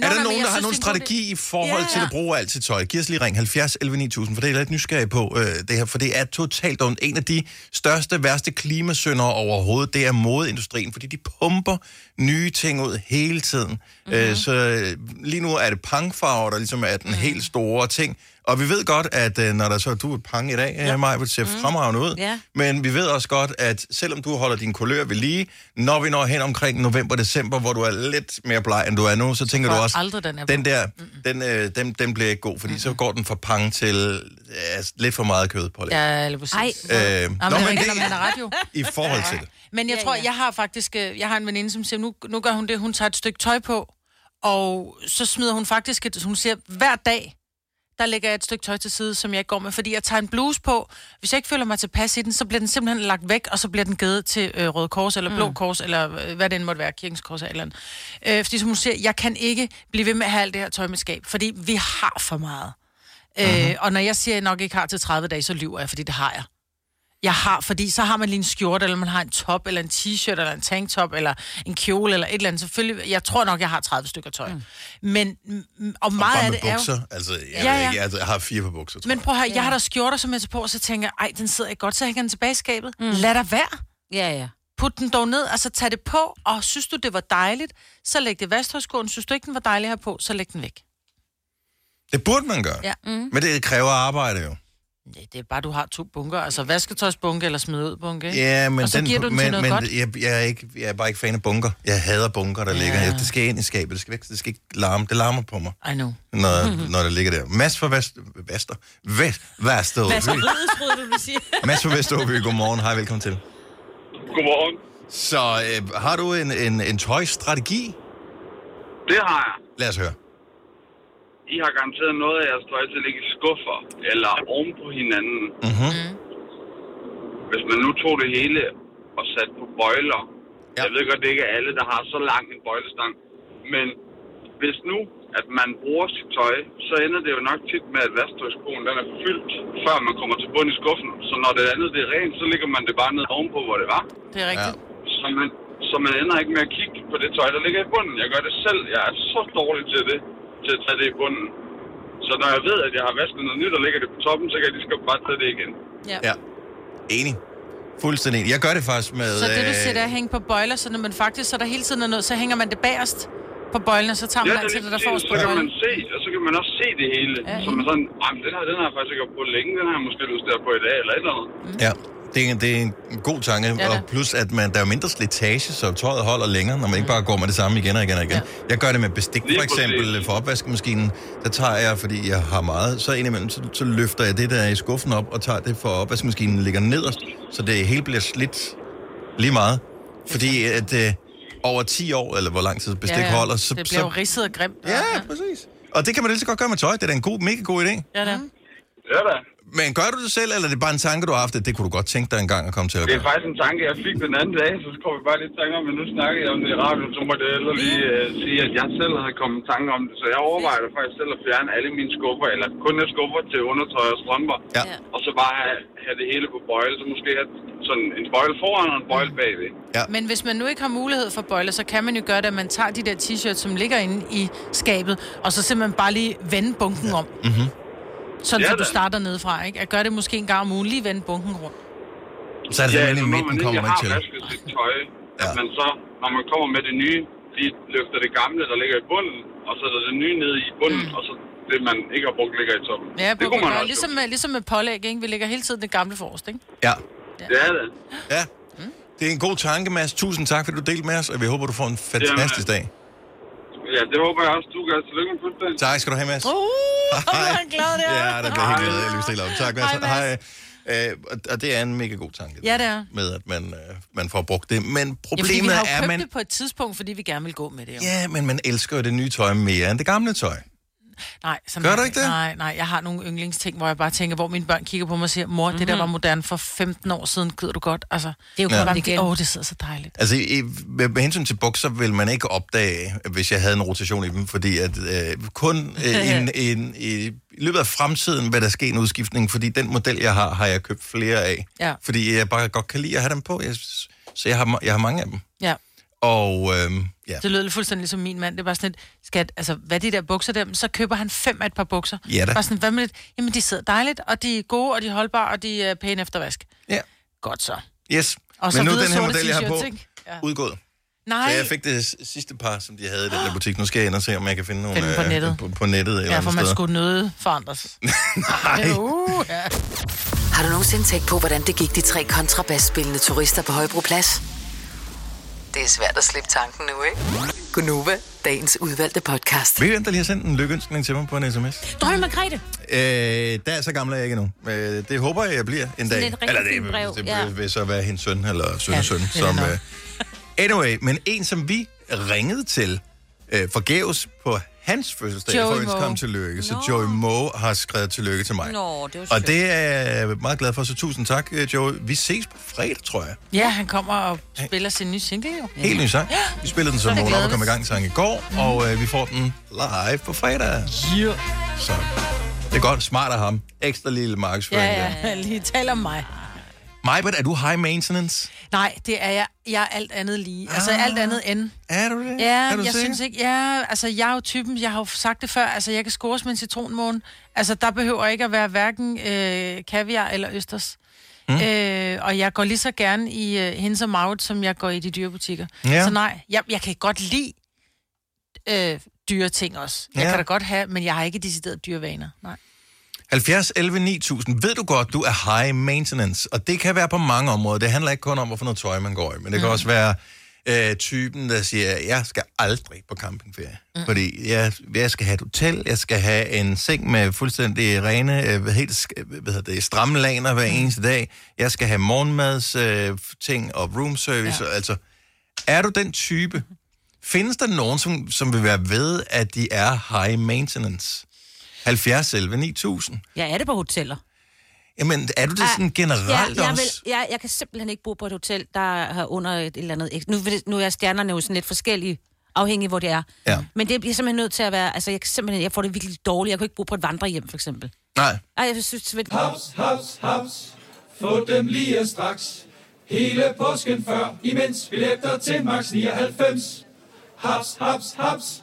S2: Er der nogen, der har nogen strategi i forhold
S3: Ja.
S2: til at bruge alt sit tøj? Giv os lige ring 70 11 9000, for det er jeg lidt nysgerrig på øh, det her, for det er totalt ondt. En af de største, værste klimasyndere overhovedet, det er modeindustrien, fordi de pumper nye ting ud hele tiden. Mm-hmm.
S3: Mhm.
S2: Øh, så øh, lige nu er det pangfarver, der ligesom er den helt store ting. Og vi ved godt, at øh, når der så du er et pang i dag, ja. øh, Maja, vil se fremragende ud.
S3: Mhm. Ja.
S2: Men vi ved også godt, at selvom du holder din kulør ved lige, når vi når hen omkring november-december, hvor du er lidt mere bleg, end du er nu, så tænker
S1: får
S2: du
S1: jeg
S2: også,
S1: aldrig den her
S2: den der, den, øh, den, den bliver ikke god, fordi så går den fra pang til øh, lidt for meget kød på det.
S1: Ja, lige præcis.
S3: Ej,
S2: Øh,
S1: Nå,
S2: nå,
S1: men,
S2: men
S1: det...
S2: det,
S1: man har ret jo.
S2: i forhold til det.
S1: Men jeg
S3: Ja,
S1: tror,
S3: ja.
S1: jeg har faktisk... øh, Jeg har en veninde, som siger, nu, nu gør hun det, hun tager et stykke tøj på, og så smider hun faktisk... Et, hun siger, hver dag, der lægger jeg et stykke tøj til side, som jeg ikke går med, fordi jeg tager en bluse på. Hvis jeg ikke føler mig tilpas i den, så bliver den simpelthen lagt væk, og så bliver den givet til øh, Røde Kors, eller
S3: Mm.
S1: Blå Kors, eller øh, hvad det end måtte være, Kirkens Kors eller et eller andet. Øh, fordi som hun siger, jeg kan ikke blive ved med at have alt det her tøj med skab, fordi vi har for meget.
S3: Mhm.
S1: Øh, og når jeg siger, at jeg nok ikke har til 30 dage, så lyver jeg, fordi det har jeg. Jeg har, fordi så har man lige en skjorte, eller man har en top, eller en t-shirt, eller en tanktop, eller en kjole, eller et eller andet. Selvfølgelig, jeg tror nok, jeg har 30 stykker tøj. Mm. Men, mm, og meget
S2: Bare
S1: af
S2: med
S1: det er jo...
S2: bukser. Altså,
S1: Ja,
S2: jeg, ja,
S1: ja.
S2: ja. Ikke, altså, jeg har fire på bukser, tror
S1: Men prøv at høre, jeg har der skjorter, som jeg tager på, og så tænker jeg, ej, den sidder ikke godt, så jeg hænger den tilbage i skabet. Mm. Lad dig være.
S3: Ja, ja.
S1: Put den dog ned, og så tag det på, og synes du, det var dejligt, så læg det i vasthøjskolen. Synes du ikke, den var dejlig her på, så læg den væk.
S2: jeg. Det burde man gøre.
S1: Ja.
S2: Mm. Men det kræver arbejde jo.
S1: Nej, det er bare, du har to bunker. Altså vasketøjsbunke eller smid ud bunke. ikke?
S2: Ja, men
S1: Og så
S2: den,
S1: giver du den
S2: men,
S1: til noget
S2: men
S1: godt.
S2: Jeg, jeg, er ikke, jeg er bare ikke fan af bunker. Jeg hader bunker, der ja. ligger. Jeg, det skal ind i skabet. Det skal, væk, det skal ikke larme. Det larmer på mig,
S1: I know. *laughs*
S2: når, når det ligger der. Mads fra Vest, Vester. Vest, Vester.
S3: Hvad tror du, du vil sige?
S1: *laughs*
S2: Mads fra Vesterby, godmorgen. Hej, velkommen til.
S7: Godmorgen.
S2: Så øh, har du en, en, en tøjstrategi?
S7: Det har jeg.
S2: Lad os høre.
S7: I har garanteret noget af jeres tøj til at ligge i skuffer eller oven på hinanden.
S2: Mhm.
S7: Hvis man nu tog det hele og satte på bøjler.
S2: Ja.
S7: Ja. Jeg ved godt, det ikke er alle, der har så lang en bøjlestang. Men hvis nu, at man bruger sit tøj, så ender det jo nok tit med, at vasktøjskoen den er fyldt, før man kommer til bund i skuffen. Så når det andet det er rent, så ligger man det bare ned ovenpå, hvor det var.
S1: Det er rigtigt. Ja.
S7: Så man, så man ender ikke med at kigge på det tøj, der ligger i bunden. Jeg gør det selv. Jeg er så dårlig til det, til at tage det i bunden. Så når jeg ved, at jeg har vasket noget nyt og ligger det på toppen, så kan jeg lige så godt bare tage det igen.
S2: Ja. Enig. Fuldstændig enig. Jeg gør det faktisk med...
S1: Så det, du
S2: øh,
S1: siger, det er at hænge på bøjler, så når man faktisk, så der hele tiden er noget, så hænger man det bagerst på bøjlen, og så tager man ja, altid det, altså, der
S7: lige
S1: forrest
S7: præcis.
S1: på
S7: så kan
S1: bøjlen.
S7: man se, og så kan man også se det hele.
S1: Ja.
S7: Ja. Så man sådan, "Ej, men den her, den har jeg faktisk ikke haft på længe, den har jeg måske lyst til at have på i dag, eller et eller andet.
S2: Mm. Ja, det er, en- det er en god tanke.
S1: det er.
S2: Ja, og plus, at man, der er mindre slitage, så tøjet holder længere, når man ikke bare går med det samme igen og igen og igen. Ja. Jeg gør det med bestik,
S7: Lige
S2: for eksempel øh,
S7: præcis.
S2: for opvaskemaskinen. Der tager jeg, fordi jeg har meget, så indimellem, så, så løfter jeg det, der er i skuffen op, og tager det for opvaskemaskinen ligger nederst, så det hele bliver slidt lige meget. Fordi at øh, over 10 år, eller hvor lang tid bestik ja, holder, så...
S1: det bliver jo
S2: så
S1: ridset og grimt.
S2: ja, præcis. Og det kan man lige så godt gøre med tøj. Det er da en god, mega god idé.
S1: Ja, da.
S7: Ja da.
S2: Men gør du det selv, eller er det bare en tanke, du har haft, at det kunne du godt tænke dig engang at komme til at
S7: Det
S2: gøre?
S7: er faktisk en tanke, jeg fik den anden dag, så kom vi bare lidt i tanke om, at nu snakkede jeg om det i radioen, så må det ellers lige uh, sige, at jeg selv har kommet i tanke om det, så jeg overvejer da faktisk selv at fjerne alle mine skuffer, eller kun have skuffer til undertøj og strømper,
S2: Ja.
S7: og så bare have, have det hele på bøjle, så måske have sådan en bøjle foran og en bøjle bagved.
S1: Men hvis man nu ikke har mulighed for bøjler, så kan man jo gøre det, at man tager de der t-shirts, som ligger inde i skabet, og så simpelthen bare lige vende bunken om. Mm-hmm.
S2: mhm.
S1: Sådan,
S7: Ja,
S1: så du
S7: da.
S1: starter nedefra, ikke? At gøre det måske en gang om ugen, lige vende bunken rundt.
S2: Så er det ja, i
S7: så når man
S2: midten, kommer man
S7: har
S2: til.
S7: vasket sit tøj, ja. at
S2: Ja.
S7: man så, når man kommer med det nye, lige løfter det gamle, der ligger i bunden, og så er der det nye nede i bunden, mm. og så det, man ikke har brugt, ligger i toppen.
S1: Ja,
S7: det
S1: på,
S7: kunne man
S1: ja,
S7: også
S1: ligesom,
S7: ligesom...
S1: med, ligesom med pålæg, ikke? Vi lægger hele tiden det gamle forrest, ikke?
S2: Ja.
S7: Det er det.
S2: ja. Det er en god tanke, Mads. Tusind tak, fordi du delte med os, og vi håber, du får en fantastisk dag.
S7: Ja, det håber jeg også, du gør. Tillykke med fødselsdagen.
S2: Tak skal du have, Mads.
S1: Uh, hvor er han glad der.
S2: *laughs* Ja, der bliver helt glad, jeg lige stille op. Tak, Mads.
S1: Hej, Mads.
S2: Hej. Øh, og- og det er en mega god tanke.
S1: Ja, det er.
S2: Med, at man, øh, man får brugt det. Men
S1: Ja, fordi vi
S2: problemet
S1: har jo
S2: er,
S1: købt
S2: at man...
S1: det på et tidspunkt, fordi vi gerne vil gå med det. Jo.
S2: Ja, men man elsker jo det nye tøj mere end det gamle tøj.
S1: Nej, som
S2: Gør du ikke det?
S1: Nej, nej, jeg har nogle yndlingsting, hvor jeg bare tænker, hvor mine børn kigger på mig og siger, mor, mm-hmm. det der
S2: Mhm.
S1: var moderne for 15 år siden, gider du godt? Altså, det er
S3: jo
S2: Ja.
S1: ja.
S3: kommet igen.
S1: Åh, oh, det sidder så dejligt.
S2: Altså, i, med, med hensyn til bukser vil man ikke opdage, hvis jeg havde en rotation i dem, fordi at øh, kun øh, en, en, i, i løbet af fremtiden vil der ske en udskiftning, fordi den model, jeg har, har jeg købt flere af.
S1: Ja.
S2: Fordi jeg bare godt kan lide at have dem på, jeg, s- så jeg har, ma- jeg har mange af dem.
S1: Ja.
S2: Og øh, ja.
S1: Det lød lidt fuldstændig ligesom min mand. Det var sådan et, skat, altså, hvad er de der bukser der? Men Så køber han fem af et par bukser.
S2: Ja da.
S1: Bare sådan, hvad med det? Jamen, de sidder dejligt, og de er gode, og de er holdbare, og de er pæne efter vask.
S2: ja.
S1: Godt så.
S2: Yes.
S1: Og så
S2: Men nu
S1: hvide
S2: den her
S1: sorte
S2: model, jeg har på,
S1: t-shirts, ikke? Ja.
S2: udgået.
S1: Nej,
S2: Så jeg fik det s- sidste par, som de havde i den der butik. Nu skal jeg ind og se, om jeg kan finde nogle
S1: Finde dem på
S2: øh,
S1: nettet.
S2: På, på nettet eller
S1: ja, for
S2: andet
S1: man
S2: sted.
S1: skulle nøde forandres.
S2: *laughs* Nej.
S1: Uh, ja.
S4: Har du nogensinde tænkt på, hvordan det gik de tre kontrabasspillende turister på Højbroplads? Det er svært at slippe tanken nu, ikke? Gunova, dagens udvalgte podcast.
S2: Ved I, hvem der lige har sendt en lykkeønskning til mig på en sms?
S3: Dronning Margrethe.
S2: Øh, der er så gammel er jeg ikke endnu. Øh, det håber jeg, jeg bliver en dag.
S3: et rigtig
S2: det,
S3: fint brev,
S2: det
S3: ja.
S2: vil, vil så være hendes søn eller søn ja, søn.
S1: det er
S2: Som,
S1: nok.
S2: øh, anyway, men en, som vi ringede til øh, forgæves på hans fødselsdag
S1: Joey
S2: for at ønske
S1: Moe.
S2: ham tillykke. Så
S3: Nå.
S2: Joey Moe har skrevet tillykke til mig.
S3: Nå, det var
S2: Og
S3: sødt.
S2: det er jeg meget glad for, så tusind tak, øh, Joey. Vi ses på fredag, tror jeg.
S1: ja, han kommer og spiller sin nye single jo.
S2: Helt ny sang. Vi spillede den som
S1: det Mm.
S2: Morten op og
S1: glæder
S2: kom i
S1: vi.
S2: gang sang i går, og øh, vi får den live på fredag.
S1: Yeah.
S2: Så det er godt smart af ham. Ekstra lille markedsføring. der.
S1: Ja, *laughs* ja, lige tal om mig.
S2: Majbert, er du high maintenance?
S1: Nej, det er jeg. Jeg er alt andet lige. Altså alt andet end.
S2: Ah. Er du det?
S1: Ja,
S2: er du
S1: jeg
S2: sikker?
S1: synes ikke. Ja, altså jeg er jo typen, jeg har jo sagt det før, altså jeg kan scores med en citronmåne. Altså der behøver ikke at være hverken øh, kaviar eller østers. Mm. Øh, og jeg går lige så gerne i øh, hendes og mavet, som jeg går i de dyre butikker.
S2: Ja.
S1: Ja. Så nej, jeg, jeg kan godt lide øh, dyre ting også. Jeg
S2: Ja.
S1: ja. kan da godt have, men jeg har ikke decideret dyre vaner. Nej.
S2: 70, 11, 9000. Ved du godt, du er high maintenance, og det kan være på mange områder. Det handler ikke kun om, hvorfor noget tøj man går i, men det kan også være øh, typen, der siger, jeg skal aldrig på campingferie, mm. fordi jeg, jeg skal have et hotel, jeg skal have en seng med fuldstændig rene, øh, hvad helt sk- hvad hedder det, stramme laner hver eneste dag, jeg skal have morgenmads øh, ting og room service, ja. altså er du den type? Findes der nogen, som, som vil være ved, at de er high maintenance? 70 11 9000.
S3: Jeg er det på hoteller.
S2: Jamen, er du det sådan generelt
S3: Ah, ja, jeg,
S2: også?
S3: Vil, jeg, jeg kan simpelthen ikke bo på et hotel, der har under et eller andet... ek- Nu, vil det- nu er stjernerne jo sådan lidt forskellige, afhængig hvor det er.
S2: Ja.
S3: Men det bliver simpelthen nødt til at være... Altså, jeg, kan simpelthen, jeg får det virkelig dårligt. Jeg kan ikke bo på et vandrehjem, for eksempel.
S2: Nej.
S3: Ej, jeg synes... Vel,
S6: Haps, haps, haps. Få dem lige straks. Hele påsken før, imens billetter til max 99. Haps, haps, haps.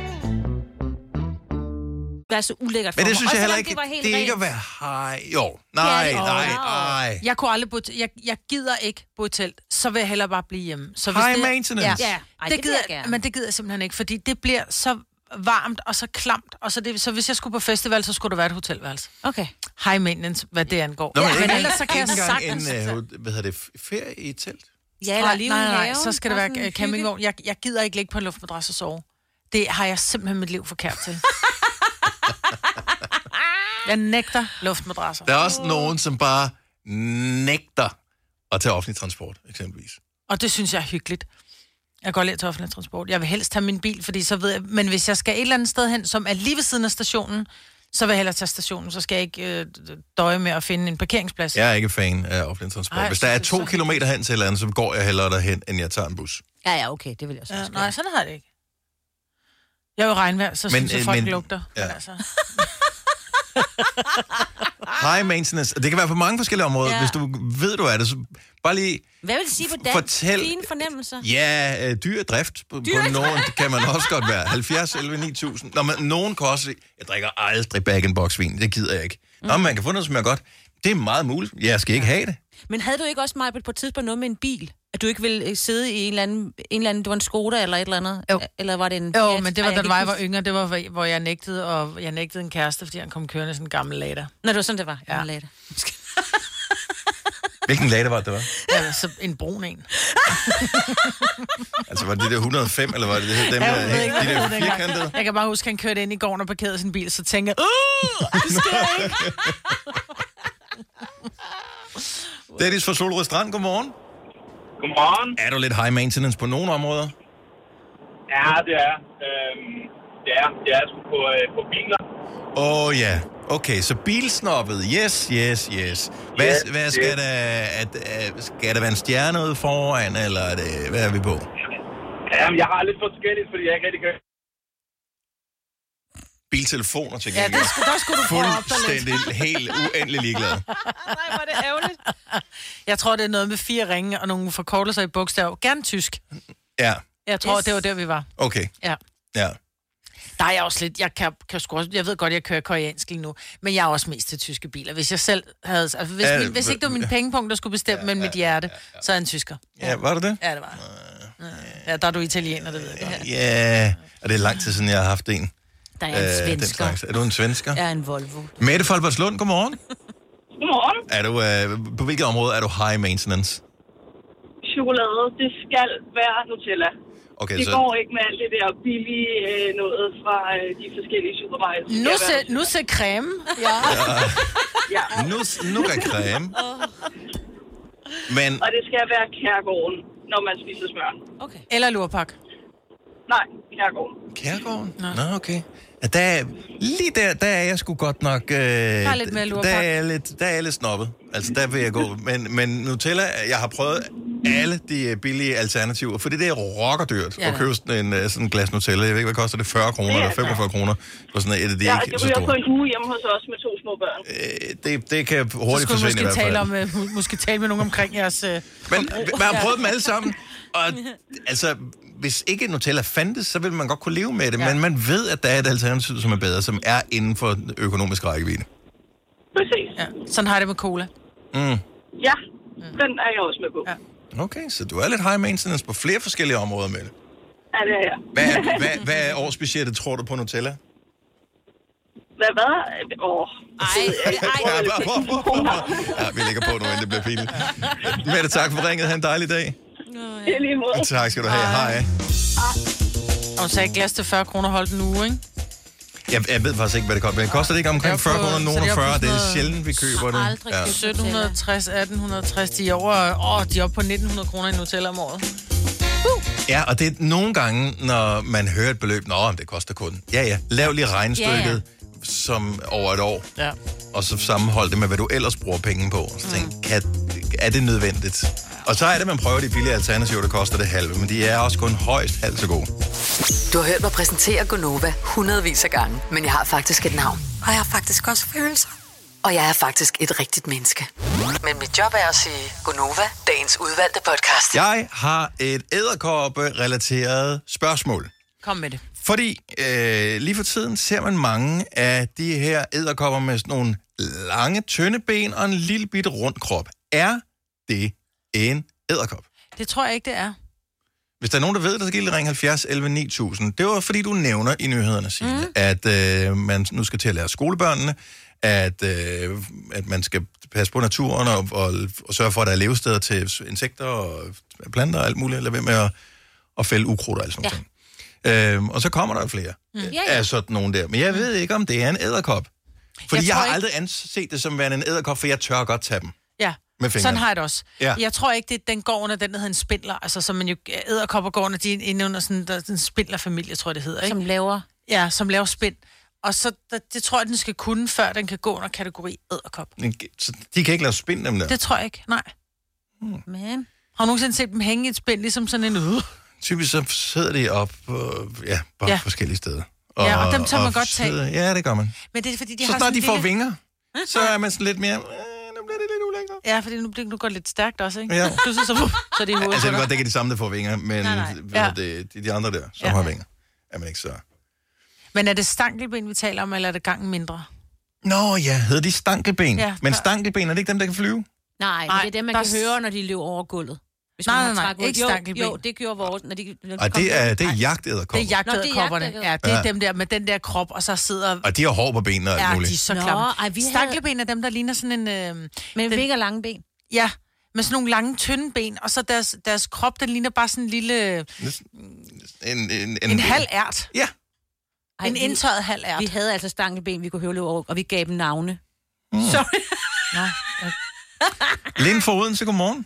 S3: det er så ulækkert for
S2: Men
S3: mig.
S2: det synes
S3: Også
S2: jeg heller
S3: selvom
S2: ikke,
S3: var
S2: det,
S3: helt
S2: det er ikke at
S3: rent.
S2: være high. Jo, nej,
S3: det.
S2: nej,
S3: Jo.
S2: nej.
S1: Jeg kunne aldrig bo i t- jeg, jeg gider ikke bo i telt, så vil jeg hellere bare blive hjemme. Så
S2: High maintenance.
S1: Ja,
S3: Ja.
S1: ja.
S3: Ej,
S1: Ej,
S3: det vil
S1: det, det
S3: jeg
S1: gider,
S3: gerne.
S1: jeg men det gider jeg simpelthen ikke, fordi det bliver så varmt og så klamt, og så, det, så hvis jeg skulle på festival, så skulle der være et hotelværelse.
S3: Okay.
S1: High maintenance, hvad det angår.
S2: Nå,
S1: Nå,
S2: men
S1: men,
S2: ikke-
S1: men ellers så kan jeg
S2: Ikke engang
S1: sagtens...
S2: en,
S3: altså.
S2: øh, hvad hedder det, f- ferie i et telt?
S3: Ja, eller
S1: nej,
S3: lige
S1: nej,
S3: ude i
S1: nej,
S3: haven.
S1: så skal det
S3: Bare
S1: være
S3: sådan
S1: øh,
S3: hygge.
S1: campingvogn. Jeg, jeg gider ikke ligge på en luftmadras og sove. Det har jeg simpelthen mit liv forkert
S3: *laughs*
S1: til. jeg nægter luftmadrasser.
S2: Der er også nogen, som bare nægter at tage offentlig transport, eksempelvis.
S1: Og det synes jeg er hyggeligt. Jeg kan godt lide at tage offentlig transport. Jeg vil helst tage min bil, fordi så ved jeg... Men hvis jeg skal et eller andet sted hen, som er lige ved siden af stationen, så vil jeg hellere tage stationen. Så skal jeg ikke øh, døje med at finde en parkeringsplads.
S2: Jeg er ikke fan af offentlig transport.
S1: Ej,
S2: Hvis der er
S1: det er
S2: to
S1: så-
S2: kilometer hen til et eller andet, så går jeg hellere derhen, end jeg tager en bus.
S3: Ja, ja, okay, det vil jeg også.
S1: Ja,
S3: Ja,
S1: nej, sådan har jeg det ikke. Jeg er jo regnvejr, så
S2: Men,
S1: men, synes jeg,
S2: øh,
S1: folk
S2: men-
S1: men, lugter.
S2: ja.
S1: Ja. Men altså,
S2: High maintenance. og Det kan være på mange forskellige områder.
S3: Ah. Ja.
S2: Hvis du ved, du er det, så bare lige...
S3: Hvad vil det sige på dansk?
S2: Fortæl-
S3: Dine fornemmelser?
S2: Ja, øh, dyr drift på, dyr. på
S3: Dyr-
S2: nogen det kan man også godt være. 70, 11, 9000. Nå, men nogen kan også... Jeg drikker aldrig bag in box vin. Det gider jeg ikke. Nå,
S1: Mm.
S2: men man kan få noget, som er godt. Det er meget muligt. Jeg skal ikke have det.
S3: Men havde du ikke også, Majbet, på et tidspunkt noget med en bil? At du ikke ville øh, sidde i en eller anden... En eller anden det var en Skoda eller et eller andet? Jo. Eller var det en...
S1: Jo,
S3: Fiat?
S1: men det var,
S3: Ej,
S1: da
S3: kan
S1: var jeg
S3: ikke
S1: var
S3: huske-
S1: yngre, det var, hvor- hvor jeg nægtede, og jeg nægtede en kæreste, fordi han kom kørende sådan en gammel lader.
S3: Nå, det var sådan, det var. Ja. Later.
S2: Hvilken lade var det, det var?
S1: Ja, så en brun en.
S2: Altså, var det det der 105, eller var det det her, dem
S1: Ja,
S2: der,
S1: jeg ved ikke,
S2: de
S1: hvad det
S2: der
S1: hed dengang.
S2: firkantede?
S1: Jeg kan bare huske, at han kørte ind i gården og parkerede sin bil, så tænkte jeg, uh, det sker ikke.
S2: Dennis fra Solrød Strand, godmorgen.
S8: Godmorgen.
S2: Er du lidt high maintenance på nogle områder?
S8: Ja, det er. Øhm, det er. Det er sgu på, øh, på biler.
S2: Åh oh, ja. Okay, så bilsnoppet. Yes, yes, yes. Hvad,
S8: Yes,
S2: yes, hvad skal,
S8: yes.
S2: yes. Der, at, at, skal der være en stjerne ude foran, eller er det, hvad er vi på?
S8: Jamen, jeg har lidt forskelligt, fordi jeg ikke rigtig kan...
S2: Biltelefoner til
S8: Ja,
S2: gengæld.
S8: der skulle- der skulle du prøve at opdage lidt.
S2: Fuldstændig, helt uendelig ligeglad.
S1: Nej, var det ærgerligt. Jeg tror, det er noget med fire ringe og nogle forkortelser i bogstav. Gerne tysk.
S2: Ja,
S1: Jeg tror,
S2: Yes.
S1: yes. det var der, vi var.
S2: okay.
S1: Ja.
S2: Ja.
S1: Der er jeg også lidt, jeg kan, kan sgu også, jeg ved godt, jeg kører koreansk lige nu, men jeg er også mest til tyske biler. Hvis jeg selv havde, altså hvis,
S2: Ja,
S1: ja, min, hvis
S2: hva-
S1: ikke det var min pengepunkt, der skulle bestemme, ja, men mit hjerte, ja, ja. så er jeg en tysker.
S2: Ja, var det det?
S1: Ja, det var jeg. Ja, der er du italiener, det ved jeg godt.
S2: Ja, og det er lang tid siden, jeg har haft en.
S1: Der er en
S2: Øh, den
S1: svensker.
S2: slags. Er du en svensker?
S3: Jeg er en Volvo.
S2: Mette Folbertslund, godmorgen.
S9: Godmorgen.
S2: Er du, øh, på hvilket område er du high maintenance?
S9: Chokolade, det skal være Nutella.
S2: Okay,
S9: det
S2: så-
S9: går ikke med alt det der billige øh, noget fra øh, de forskellige supermarkeder. Det skal
S1: Nu
S9: være-
S1: se, nu se creme. Ja.
S9: Ja.
S2: Nu, nu er creme. Men
S9: Og det skal være kærgården, når man spiser smør.
S1: Okay. Eller lurpak.
S9: Nej, kærgården.
S2: Kærgården? Nå, okay. Ja, Der er, lige der, der er jeg sgu godt nok... Øh, der er
S1: lidt mere
S2: der
S1: lurpak.
S2: er jeg lidt, der er jeg lidt snobbet. Altså, der vil jeg gå. Men, men Nutella, jeg har prøvet alle de øh, billige alternativer, for det er rockerdyrt
S9: Ja,
S2: ja, at
S9: da.
S2: købe sådan en, øh, sådan en glas Nutella. Jeg ved ikke, hvad koster det? 40 kroner
S9: Det er
S2: eller 45 kroner? På sådan et, det
S9: ja,
S2: er
S9: og
S2: ikke
S9: det
S2: så
S9: ryger på
S2: stort.
S9: en uge hjemme hos os med to små børn.
S2: Det, det kan
S1: så
S2: hurtigt
S1: skulle vi
S2: forsvinde
S1: måske
S2: i hvert fald.
S1: tale, om, øh, mu- måske tale med nogen omkring jeres... Øh,
S2: Men man har prøvet dem
S1: *laughs*
S2: alle sammen, og altså, hvis ikke Nutella fandtes, så ville man godt kunne leve med det, ja. men man ved, at der er et alternativ, som er bedre, som er inden for den økonomiske rækkevidde.
S9: *laughs* Præcis.
S1: Ja. Sådan har jeg det med cola.
S2: Mm.
S9: Ja, den er jeg også med på. Ja,
S2: Okay, så du er lidt high maintenance på flere forskellige områder, med det.
S9: ja det er jeg.
S2: Hvad, er- hvad, hvad er årsbudgettet, tror du, på Nutella?
S9: Hvad, hvad? Åh. Ej,
S2: Ja, hvor- hvor- hvor- hvor- Ja, vi ligger på nu, inden det bliver pinligt. Mette, tak for ringet. Ha' en dejlig dag.
S9: Det er lige måde.
S2: Tak skal du have. Hej.
S1: Og hun sagde et glas til 40 kroner holdt en uge, ikke?
S2: Jeg, jeg ved faktisk ikke, hvad det koster. Men koster det ikke omkring 40 kroner, nogen 40? Det er sjældent, vi køber det.
S1: Ja. 1760, 1860, de er over, åh, de er oppe på 1900 kroner i Nutella om året.
S2: Ja, og det er nogle gange, når man hører et beløb, nå, men det koster kun. Ja, ja, lav lige regnstykket
S1: Ja,
S2: ja, ja. som over et år,
S1: Ja.
S2: og så sammenhold det med, hvad du ellers bruger penge på. Og så tænk, kan, er det nødvendigt? Og så er det, man prøver de billige alternativer, der koster det halve, men de er også kun højst halvt så gode.
S4: Du har hørt mig præsentere Gonova hundredvis af gange, men jeg har faktisk et navn. Og jeg har faktisk også følelser. Og jeg er faktisk et rigtigt menneske. Men mit job er at sige Gonova, dagens udvalgte podcast.
S2: Jeg har et æderkoppe-relateret spørgsmål.
S1: Kom med det.
S2: Fordi øh, lige for tiden ser man mange af de her æderkopper med sådan nogle lange, tynde ben og en lille bitte rund krop. Er det en æderkop?
S1: Det tror jeg ikke, det er.
S2: Hvis der er nogen, der ved det, så kan I lige ringe 70 11 9000. Det var, fordi du nævner i nyhederne, Signe, mm. at øh, man nu skal til at lære skolebørnene, at, øh, at man skal passe på naturen og, og, og sørge for, at der er levesteder til insekter og planter og alt muligt. Lad være med at, at fælde ukrudt og alt sådan ja. Øhm, og så kommer der flere
S10: Mm.
S2: ja, ja. af sådan nogen der. Men jeg ved ikke, om det er en æderkop. Fordi jeg,
S1: Jeg
S2: jeg
S1: tror
S2: har
S1: ikke-
S2: aldrig anset det som værende en æderkop, for jeg tør godt tage dem.
S1: Ja,
S2: Med fingrene.
S1: sådan har jeg det også.
S2: Ja.
S1: Ja. Jeg tror ikke, det den går under den, der hedder en spindler. Altså, som man jo æderkopper går under, de er inde under sådan, der, sådan en spindlerfamilie, tror jeg, det hedder. Ikke?
S3: Som laver...
S1: Ja, som laver spind. Og så der, det tror jeg, den skal kunne, før den kan gå under kategori æderkop.
S2: Men Så de kan ikke lave spind, dem der.
S1: Ja. Det tror jeg ikke, nej.
S3: Hmm. Man.
S1: Har du nogensinde set dem hænge i et spind, ligesom sådan en ude?
S2: Typisk så sidder de op øh, ja, på ja.
S1: Ja.
S2: forskellige steder.
S1: Ja, og dem tør man godt tage.
S2: sidder- Ja, det gør man.
S1: Men det er fordi, de
S2: Så
S1: har
S2: snart
S1: sådan
S2: de
S1: en
S2: får
S1: lille-
S2: vinger, så er man sådan lidt mere... øh,
S1: Ja, fordi nu bliver det nu går det lidt stærkt også, ikke?
S2: Ja.
S1: *laughs* Pludselig så, så er det i hovedet.
S2: Altså, jeg
S1: på
S2: ved
S1: dig.
S2: godt, det ikke er de samme, der får vinger, men
S1: Nej, nej.
S2: hvad
S1: Ja.
S2: hedder det, de, de andre der, som
S1: Ja.
S2: har vinger, er man ikke så...
S1: Men er det stankelben, vi taler om, eller er det gangen mindre?
S2: Nå ja, hedder de stankelben?
S1: Ja,
S2: men
S1: der-
S2: stankelben, er det ikke dem, der kan flyve?
S3: Nej, men det er det, man kan høre, når de løber over gulvet. Hvis
S1: Nej,
S3: man
S1: nej,
S3: har
S1: nej,
S3: træk ud.
S1: ikke
S3: jo,
S1: stankelben.
S3: Jo, det gjorde vores. Når de, når de
S2: Ej,
S3: kom
S2: det er,
S3: hjem.
S2: det er jagtæderkopper.
S1: Det er jagtæderkopperne.
S3: Nå, det er
S1: Ja, det er
S2: Ja.
S1: dem der med den der krop, og så sidder...
S2: Og de har hår på benene og alt
S1: Ja,
S2: muligt.
S1: de er så
S3: Nå,
S1: klamme.
S3: ej, vi havde-
S1: Stakleben er dem, der ligner sådan en... Øh,
S3: Med
S1: den-
S3: mega lange ben.
S1: Ja, med sådan nogle lange, tynde ben, og så deres, deres krop, den ligner bare sådan en lille...
S2: En, en, en,
S1: En halv ært.
S2: Ja.
S3: Ej,
S1: en
S3: vi-
S1: indtørret halv ært.
S3: Vi havde altså stankelben, vi kunne høvle over, og vi gav dem navne.
S2: Mm.
S3: Sorry.
S2: Lind for Odense, godmorgen.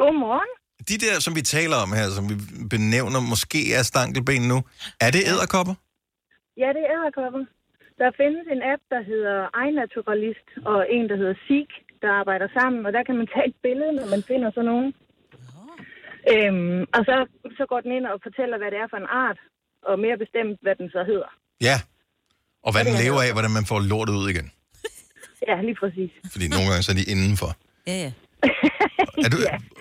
S10: Godmorgen.
S2: De der, som vi taler om her, som vi benævner, måske er stankelben nu, er det æderkopper?
S10: Ja, det er æderkoppen. Der findes en app, der hedder iNaturalist, og en, der hedder Seek, der arbejder sammen, og der kan man tage et billede, når man finder sådan nogen. Øhm, og så, så går den ind og fortæller, hvad det er for en art, og mere bestemt, hvad den så hedder.
S2: Ja. Og hvad den lever af, hvordan man får lortet ud igen.
S10: Ja, lige præcis.
S2: Fordi nogle gange så er de indenfor.
S3: Ja, ja.
S2: Er du,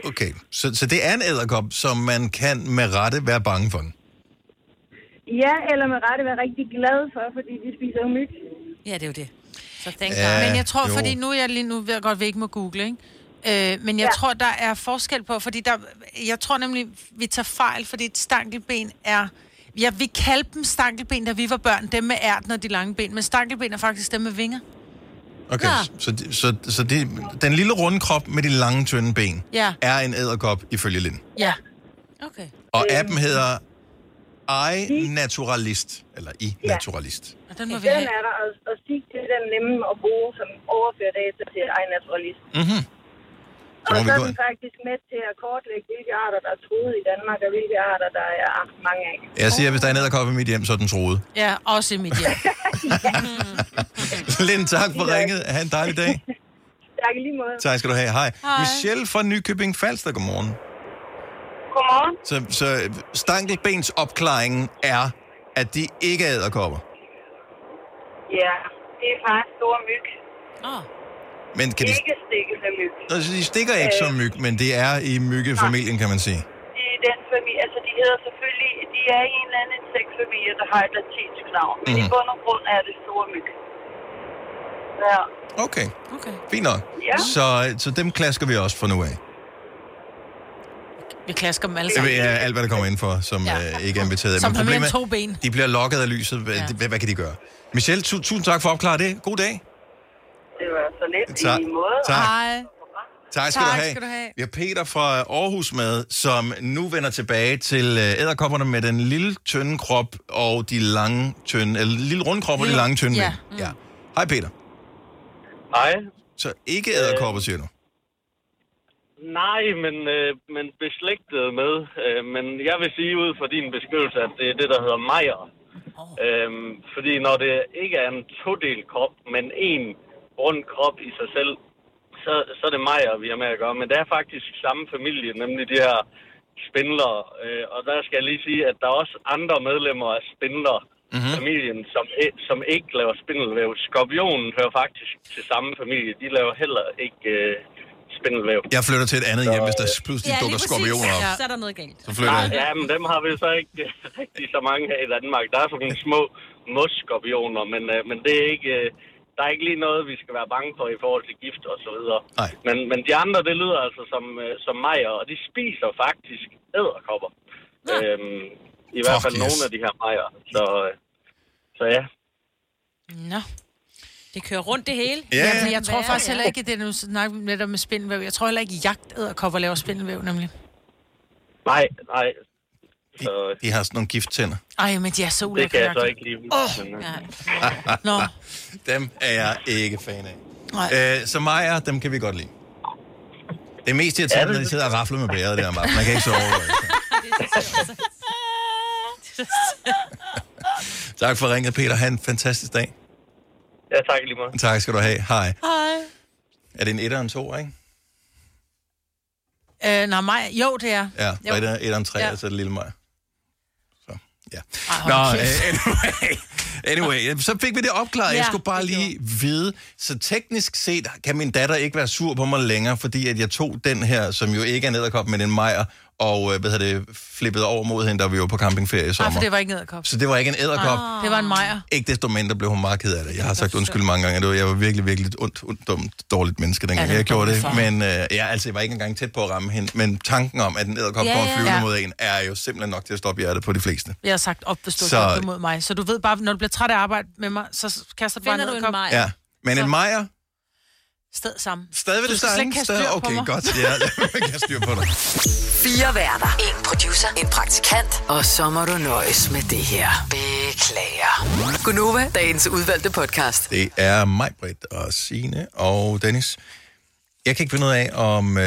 S2: okay, så, så det er en æderkop, som man kan med rette være bange for. Den.
S10: Ja, eller med rette være rigtig glad for, fordi de spiser jo myg.
S3: Ja, det er jo det.
S1: Så thank
S2: Ja,
S1: God. Men jeg tror,
S2: jo.
S1: jo. fordi nu er jeg lige nu ved jeg godt, at vi ikke må google, ikke? Øh, men jeg ja. tror, der er forskel på, fordi der, jeg tror nemlig, vi tager fejl, fordi et stankelben er... Ja, vi kaldte dem stankelben, da vi var børn, dem med ærten og de lange ben, men stankelben er faktisk dem med vinger.
S2: Okay,
S1: Nå.
S2: så, de- så, så det, den lille runde krop med de lange, tynde ben
S1: Ja.
S2: er en æderkop ifølge Lind.
S1: Ja.
S2: Og appen hedder I Naturalist, eller I Naturalist.
S1: Og den
S10: må vi have. er der, og, og Seek, det er den nemme at bruge, som overfører data til iNaturalist.
S2: Mm-hmm. Så
S10: Og
S2: må vi
S10: så er
S2: gå
S10: den faktisk med til at kortlægge, hvilke arter, der er truet i Danmark, og hvilke arter, der er mange af.
S2: Jeg siger, hvis der er en æderkop i mit hjem, så er den *laughs* troet.
S1: Ja, også i mit hjem.
S2: Lind, tak for ringet. Ha' en dejlig
S9: *laughs*
S2: dag.
S10: Tak i lige måde.
S2: Tak skal du have. Hej.
S10: Hej.
S2: Michelle fra Nykøbing Falster, godmorgen.
S10: Godmorgen.
S2: Så, så stankelbens opklaringen er, at de ikke er æderkopper.
S9: Ja, det er faktisk store myg.
S3: Oh.
S2: Men kan de,
S9: Ikke stikke som myg. Øh,
S2: Nå, så de stikker ikke som myg, men det er i myggefamilien, kan man sige.
S9: Det er den familie, altså de hedder selvfølgelig, de er i en eller anden insektfamilie, der har et latinsk navn. Men i
S2: Mhm.
S9: bund og grund er det store myg. Ja.
S2: Okay. okay. Fint nok.
S9: Ja.
S2: Så, så dem klasker vi også fra nu af.
S1: Vi klasker dem alle
S2: Det
S1: sammen.
S2: er alt, hvad der kommer ind for, som ja. øh, ikke er inviteret.
S1: Som
S2: Men
S1: har mere end
S2: problemet er,
S1: to ben.
S2: De bliver lokket af lyset. Hvad, ja. hvad, hvad kan de gøre? Michelle, tu- tusind tak for at opklare det. God dag.
S9: Det var så let
S2: Tak.
S9: i måde.
S2: Tak.
S1: Hej.
S2: Tak
S9: Tak
S2: skal, du, have.
S9: skal du have.
S2: Vi har Peter fra Aarhus med, som nu vender tilbage til øh, æderkopperne med den lille, tynde krop og de lange, tynde... Eller lille runde krop og de
S11: Lille-
S2: lange, tynde
S11: ja.
S2: ben. Ja. Hej, Peter.
S11: Hej.
S2: Så ikke æderkopper, siger du?
S11: Nej, men, øh, men beslægtet med. Øh, men jeg vil sige ud fra din beskrivelse, at det er det, der hedder mejer. Oh. Øhm, fordi når det ikke er en todel krop, men en rund krop i sig selv, så, så er det mejer, vi har med at gøre. Men det er faktisk samme familie, nemlig de her spindler. Øh, og der skal jeg lige sige, at der er også andre medlemmer af spindler
S1: Mm.
S12: Mhm.
S11: familien, som, i- som ikke laver spindelvæv. Skorpionen hører faktisk til samme familie. De laver heller ikke øh, spindelvæv.
S2: Jeg flytter til et andet hjem, hvis der
S11: øh,
S2: pludselig dukker skorpioner op.
S3: Så er der noget galt.
S2: Så flytter
S11: Nej,
S2: jeg.
S11: ja, men dem har vi så ikke øh, *laughs* rigtig så mange her i Danmark. Der er sådan nogle små mosskorpioner, men, øh, men det er ikke, øh, der er ikke lige noget, vi skal være bange for i forhold til gift og så videre. Men, men de andre, det lyder altså som, øh, som mejer, og de spiser faktisk æderkopper. Øhm, I hvert
S2: Fuck,
S11: fald
S2: yes.
S11: nogle af de her mejer. Så, øh, så ja.
S1: Nå.
S3: Det kører rundt det hele.
S11: Ja.
S1: Ja, men jeg tror
S3: Hvad er
S1: faktisk
S3: det?
S1: heller ikke, det er nu snakker vi netop med spindelvæv. Jeg tror heller ikke, jagtæderkopper laver spindelvæv, nemlig.
S11: Nej, nej.
S2: De, de har sådan nogle gifttænder.
S1: Ej, men de er så ulækre.
S11: Det kan jeg så ikke lige huske,
S1: Åh,
S11: men, øh.
S1: ja.
S2: Nå. *laughs* dem er jeg ikke fan af. Øh, så Maja, dem kan vi godt lide. Det er mest
S11: Ja,
S2: irriterende,
S11: det-
S2: når de sidder og rafler med bæret der om aftenen. Man kan ikke sove.
S11: *laughs*
S2: altså. tak for ringet, Peter. Ha' en fantastisk dag.
S11: Ja, tak i lige meget.
S2: Tak skal du have. Hej.
S1: Hej.
S2: Er det en etter og en to, ikke?
S1: Øh, nej, mig. Jo, det er.
S2: Ja,
S1: jo.
S2: jo. etter, etter og en tre, ja.
S1: Ja.
S2: og så er det altså lille Maja.
S1: Ej,
S2: Nå,
S1: hold
S2: øh,
S1: kæft.
S2: *laughs* anyway, anyway, så fik vi det opklaret. Ja, jeg
S1: Ja,
S2: skulle bare lige vide. Så teknisk set kan min datter ikke være sur på mig længere, fordi at jeg tog den her, som jo ikke er en edderkop, men en mejer, og øh, hvad hedder det, flippede over mod hende, da vi var på campingferie i sommer.
S1: Nej, for det var ikke en æderkop.
S2: Så det var ikke en æderkop.
S1: Ah. Det var en mejer.
S2: Ikke desto mindre blev hun meget ked af det. Jeg har sagt undskyld mange gange. Det var, jeg var virkelig, virkelig et ondt, ondt, dumt, dårligt menneske, dengang
S1: Ja, den
S2: ja, jeg gjorde det.
S1: dumme far.
S2: Men øh, ja, altså, jeg var ikke engang tæt på at ramme hende. Men tanken om, at en æderkop
S1: Ja,
S2: ja, kommer
S1: ja.
S2: flyvende
S1: Ja.
S2: mod en, er jo simpelthen nok til at stoppe hjertet på de fleste.
S1: Jeg har sagt op, hvis du
S2: Så-
S1: så... mod mig. Så du ved bare, når du bliver træt af at arbejde med mig, så kaster du bare
S3: Finder du en
S1: edderkop.
S3: mejer?
S2: Ja. Men en mejer,
S1: Sted sammen.
S2: stadig ved
S1: Du
S2: det
S1: skal slet ikke
S2: samme
S1: have
S2: sted.
S1: styr på
S2: Okay,
S1: mig.
S2: godt. Ja, *laughs* jeg kan styr på dig.
S4: Fire værter. En producer. En praktikant. Og så må du nøjes med det her. Beklager. Gunova, dagens udvalgte podcast.
S2: Det er mig, Britt og Sine og Dennis. Jeg kan ikke finde ud af, om... Øh,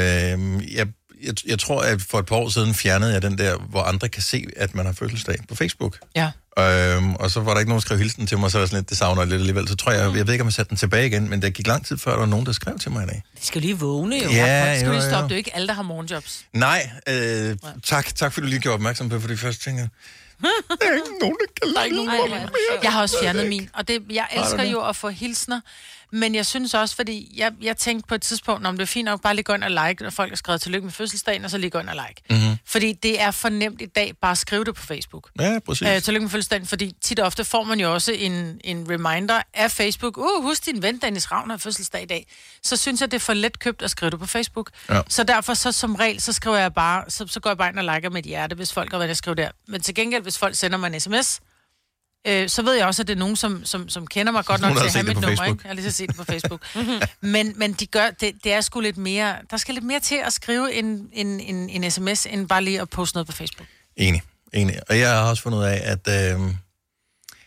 S2: jeg, jeg, jeg tror, at for et par år siden fjernede jeg den der, hvor andre kan se, at man har fødselsdag på Facebook.
S1: Ja.
S2: Øhm, og så var der ikke nogen, der skrev hilsen til mig, så var jeg sådan lidt, det savner jeg lidt alligevel. Så tror jeg, jeg ved ikke, om jeg satte den tilbage igen, men der gik lang tid før, der var nogen, der skrev til mig i dag.
S1: De skal lige vågne jo.
S2: Ja,
S1: Folk skal
S2: jo,
S1: lige stoppe.
S2: jo.
S1: Det er jo ikke alle, der har morgenjobs.
S2: Nej, øh, tak, tak fordi du lige gjorde opmærksom på, for de første ting. Der er ikke nogen, der kan
S1: Der er ikke nogen, der Jeg har også fjernet min, og det, jeg
S2: Har du
S1: elsker
S2: det?
S1: jo at få hilsner, men jeg synes også, fordi jeg, jeg tænkte på et tidspunkt, om det er fint nok bare lige gå ind og like, når folk har skrevet tillykke med fødselsdagen, og så lige gå ind og like.
S2: Mm-hmm.
S1: Fordi det er for nemt i dag bare at skrive det på Facebook.
S2: Ja, præcis.
S1: Øh, tillykke med fødselsdagen, fordi tit og ofte får man jo også en, en reminder af Facebook. Uh, husk din ven Dennis Ravn har fødselsdag i dag. Så synes jeg, det er for let købt at skrive det på Facebook.
S2: Ja.
S1: Så derfor så som regel, så skriver jeg bare, så, så går jeg bare ind og liker mit hjerte, hvis folk har været at skrive der. Men til gengæld, hvis folk sender mig en sms, øh, så ved jeg også, at det er nogen, som, som, som kender mig godt nok
S2: Nogen,
S1: til
S2: der
S1: at
S2: har
S1: have
S2: set det
S1: mit nummer. Ikke?
S2: på Facebook.
S1: Jeg har lige så set det på Facebook.
S2: *laughs*
S1: men, men de gør, det, det er sgu lidt mere, der skal lidt mere til at skrive en, en, en, en sms, end bare lige at poste noget på Facebook.
S2: Enig, enig. Og jeg har også fundet ud af, at, øh,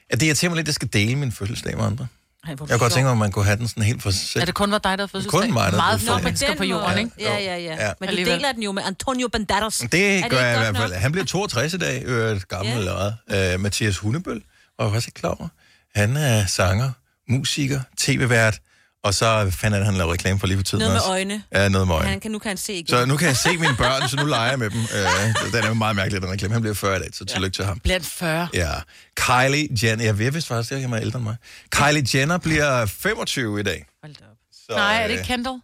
S2: at det irriterer mig lidt, at jeg skal dele min fødselsdag med andre.
S1: Ej, hvor
S2: Jeg kunne godt
S1: sjovt.
S2: tænke mig, om man kunne have den sådan helt for sig selv.
S1: Ja, det kun var dig, der havde fødselsdag.
S2: Kun mig, der havde
S1: Meget få
S2: fødselsdag.
S1: mennesker på jorden, ikke?
S3: Ja, ja, ja.
S2: Ja.
S3: ja. Men du
S1: Alligevel.
S3: deler den jo med Antonio Banderas.
S2: Det gør
S3: ikke
S2: jeg i
S3: godt
S2: hvert fald.
S3: nok?
S2: Han bliver 62 i dag, øvrigt gammel
S3: Ja.
S2: yeah. eller hvad. Øh, Mathias Hundebøl, og jeg var også ikke klar over. Han er sanger, musiker, tv-vært, og så fandt han, at han lavede reklame for lige for tiden
S3: Noget med
S2: også.
S3: øjne.
S2: Ja, noget med øjne.
S3: Han kan, nu kan han se igen.
S2: Så nu kan jeg se mine børn, så nu leger jeg med dem. Øh, den er jo meget mærkelig, den reklame. Han bliver 40 i dag, så tillykke til ham.
S1: Blandt 40.
S2: Ja. Kylie Jenner, jeg ved vist faktisk, at jeg er ældre end mig. Kylie Jenner bliver 25 i dag. Hold op. Så,
S1: Nej, er det
S2: øh,
S1: ikke Kendall?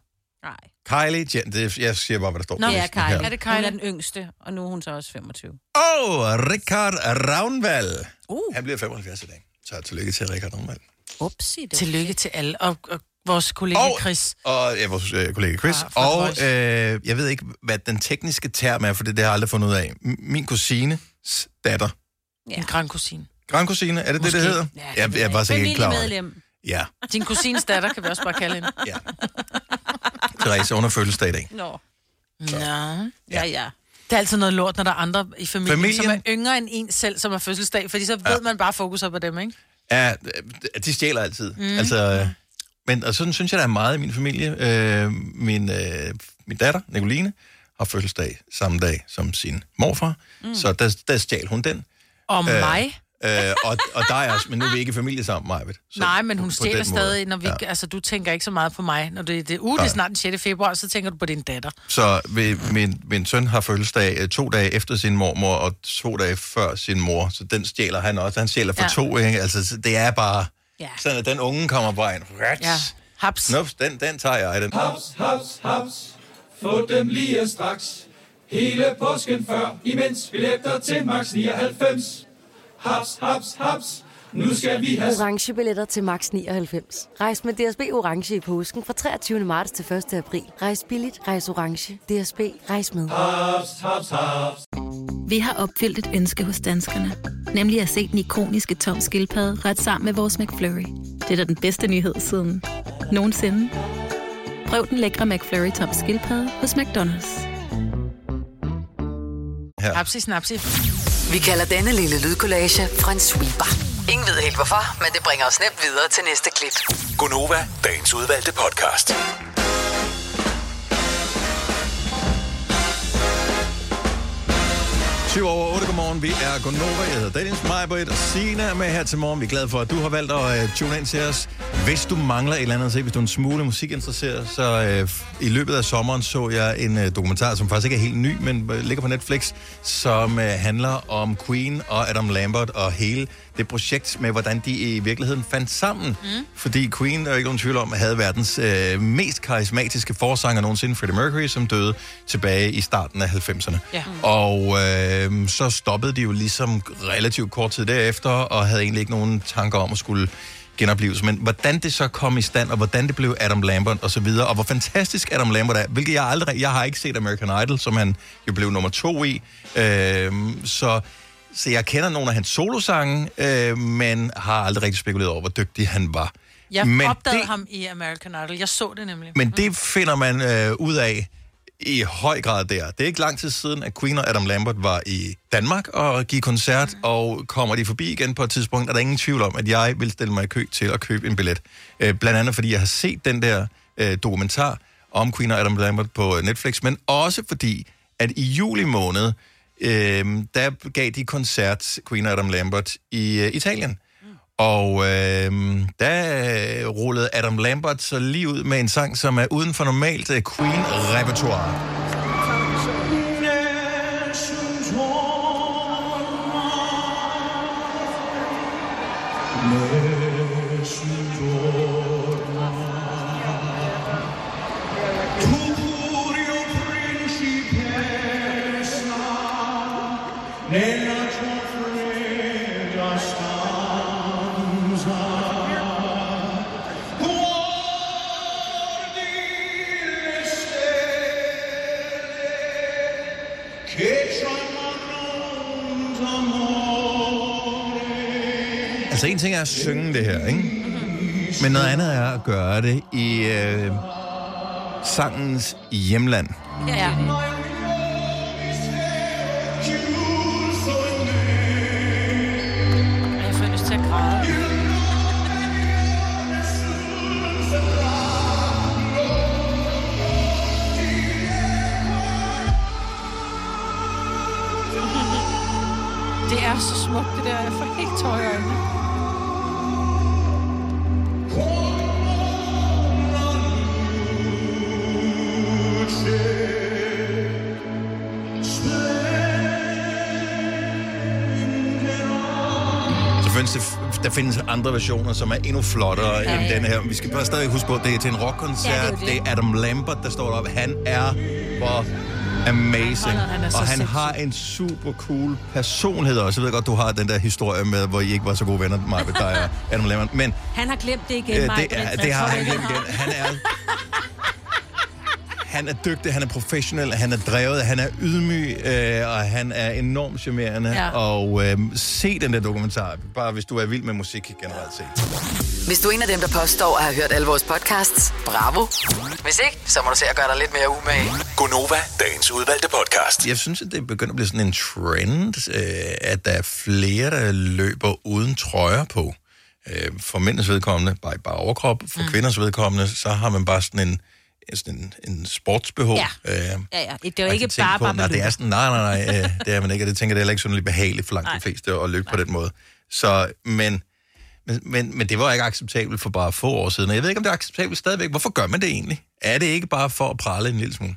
S2: Kylie Jenner, det, jeg siger bare, hvad der står
S3: Nå,
S2: på
S3: ja,
S2: listen her.
S3: Kylie. Er det Kylie? Hun er den yngste, og nu er hun så også 25.
S2: Og Richard Ravnvald. Uh. Han bliver 75 i dag. Så tillykke til Richard Ravnvald.
S3: Upsi,
S1: Tillykke til alle, og, og vores kollega og... Chris. Ah,
S2: Og ja, vores øh, kollega Chris.
S1: Fra- fra
S2: og
S1: Voice.
S2: øh, jeg ved ikke, hvad den tekniske term er, for det, det har jeg aldrig fundet ud af. M- min kusines datter.
S1: Ja. En grand kusine.
S2: Grandkusine, er det
S1: Måske.
S2: det, det hedder?
S1: Ja,
S2: Ja,
S1: det
S2: jeg,
S1: ved
S2: jeg
S1: jeg
S2: var
S1: ikke.
S2: sikkert ikke klar over det.
S3: Familiemedlem.
S2: Ja,
S1: Din kusines datter kan vi også bare kalde hende.
S2: *laughs* Ja. Therese, hun har fødselsdag i dag.
S3: Nå.
S1: Ja.
S3: Ja, ja.
S1: Det er altid noget lort, når der er andre i familien,
S2: Familien.
S1: familien, som er yngre end en selv, som har fødselsdag, fordi så ved
S2: Ja.
S1: man bare fokuser på dem, ikke?
S2: Ja, de stjæler altid. Mm.
S1: Mhm.
S2: Altså, øh, men og sådan synes jeg, der er meget i min familie. Øh, min, øh, min datter, Nicoline, har fødselsdag samme dag som sin morfar. Mm. Så der, der stjal hun den.
S1: Og
S2: Øh,
S1: mig?
S2: Øh, og, og dig også, men nu er vi ikke i familie sammen, Majbet.
S1: Så Nej, men hun
S2: på
S1: stjæler
S2: den måde,
S1: stadig, når vi, ja. altså du tænker ikke så meget på mig. Når det, det, uh, det er
S2: Nej.
S1: snart den 6. februar, så tænker du på din datter.
S2: Så ved, min, min søn har fødselsdag øh, to dage efter sin mormor, og to dage før sin mor. Så den stjæler han også. Han stjæler for
S1: Ja.
S2: ja. to, ikke? Altså, så det er bare...
S1: Ja.
S2: Sådan, at den unge kommer bare ind. Rats.
S6: Ja.
S1: Haps.
S2: Nups, den, den tager jeg, den.
S6: Haps, haps, haps. Få dem lige straks. Hele påsken før, imens billetter til max 99. Haps, haps, haps. Nu skal vi have
S13: orange billetter til max 99. Rejs med DSB orange i påsken fra 23. marts til 1. april. Rejs billigt, rejs orange. DSB rejs med.
S6: haps, haps, haps.
S14: Vi har opfyldt et ønske hos danskerne. Nemlig at se den ikoniske tom skildpadde ret sammen med vores McFlurry. Det er da den bedste nyhed siden nogensinde. Prøv den lækre McFlurry tom skildpadde hos McDonald's.
S2: Her.
S1: Hapsi snapsi.
S4: Vi kalder denne lille lydkollage en sweeper. Ingen ved helt hvorfor, men det bringer os nemt videre til næste klip.
S12: Gunova, dagens udvalgte podcast.
S2: Syv over 8, godmorgen. Vi er Gonova. Jeg hedder Dennis Majbrit og Sina er med her til morgen. Vi er glade for, at du har valgt at uh, øh, tune ind til os. Hvis du mangler et eller andet at se, hvis du er en smule musikinteresseret, så øh, f- i løbet af sommeren så jeg en øh, dokumentar, som faktisk ikke er helt ny, men øh, ligger på Netflix, som øh, handler om Queen og Adam Lambert og hele det projekt med, hvordan de i virkeligheden fandt sammen. Mm. Fordi Queen, der er ikke nogen tvivl om, havde verdens øh, mest karismatiske forsanger nogensinde, Freddie Mercury, som døde tilbage i starten af 90'erne.
S15: Ja.
S1: Mm.
S2: Og øh, så stoppede de jo ligesom relativt kort tid derefter, og havde egentlig ikke nogen tanker om at skulle genopleves. Men hvordan det så kom i stand, og hvordan det blev Adam Lambert og så videre, og hvor fantastisk Adam Lambert er, hvilket jeg aldrig... Jeg har ikke set American Idol, som han jo blev nummer to i. Øh, så, så jeg kender nogle af hans solosange, øh, men har aldrig rigtig spekuleret over, hvor dygtig han var.
S1: Jeg
S2: men,
S1: opdagede det... ham i American Idol. Jeg så det nemlig.
S2: men det finder man øh, ud af i høj grad der. Det er ikke lang tid siden, at Queen og Adam Lambert var i Danmark og gik koncert, og kommer de forbi igen på et tidspunkt, er der ingen tvivl om, at jeg vil stille mig i kø til at købe en billet. Øh, blandt andet, fordi jeg har set den der øh, dokumentar om Queen og Adam Lambert på øh, Netflix, men også fordi, at i juli måned, øh, der gav de koncert Queen og Adam Lambert i øh, Italien. Og øh, der øh, rullede Adam Lambert så lige ud med en sang, som er uden for normalt øh, Queen-repertoire.
S15: Nella tua fredda stanza Guardi le stelle Che ci amano d'amore
S2: Altså en ting er at synge det her, ikke? Men noget andet er at gøre det i øh, sangens hjemland.
S15: Ja, ja. Jeg får lyst til at græde.
S1: *laughs* Det er så smukt, det der. Jeg får helt tøj øjne.
S2: Så findes det, der findes andre versioner, som er endnu flottere ja,
S15: Ja,
S2: end
S15: ja.
S2: den her. Vi skal bare stadig huske på, at det er til en rockkoncert.
S15: Ja,
S2: Ja,
S15: det er
S2: det,
S15: jo
S2: det. det
S15: det.
S2: er Adam Lambert, der står deroppe. Han er for amazing.
S15: Han er så
S2: og han
S15: sindssyg.
S2: har en super cool personlighed også. Jeg ved godt, du har den der historie med, hvor I ikke var så gode venner, mig med dig og Adam Lambert. Men
S3: Han har glemt det igen,
S2: øh,
S3: Maja,
S2: det,
S3: på den
S2: er,
S3: plads,
S2: det har
S3: tror du
S2: han
S3: ikke?
S2: glemt igen. Han er... Han er dygtig, han er professionel, han er drevet, han er ydmyg, øh, og han er enormt charmerende.
S4: Ja.
S2: Ja. Og øh, se den der dokumentar, bare hvis du er vild med musik generelt set.
S4: Hvis du er en af dem, der påstår at have hørt alle vores podcasts, bravo. Hvis ikke, så må du se at gøre dig lidt mere umage.
S12: Gonova, dagens udvalgte podcast.
S2: Altså, Jeg synes, at det begynder at blive sådan en trend, øh, at der er flere, der løber uden trøjer på. Øh, for mænds vedkommende, bare, bare overkrop. For mm. kvinders vedkommende, så har man bare sådan en, sådan en, en sportsbehov.
S3: Ja.
S2: Øh,
S3: Ja, ja. Det er jo
S2: man
S3: ikke
S2: kan tænke
S3: bare
S2: på,
S3: bare
S2: nej,
S3: med
S2: det er sådan, nej, nej, nej, øh, det er man ikke, og det tænker jeg, det er heller ikke sådan lidt behageligt for langt de fleste at løbe på den måde. Så, men, men, men, men det var ikke acceptabelt for bare få år siden, og jeg ved ikke, om det er acceptabelt stadigvæk. Hvorfor gør man det egentlig? Er det ikke bare for at prale en lille smule?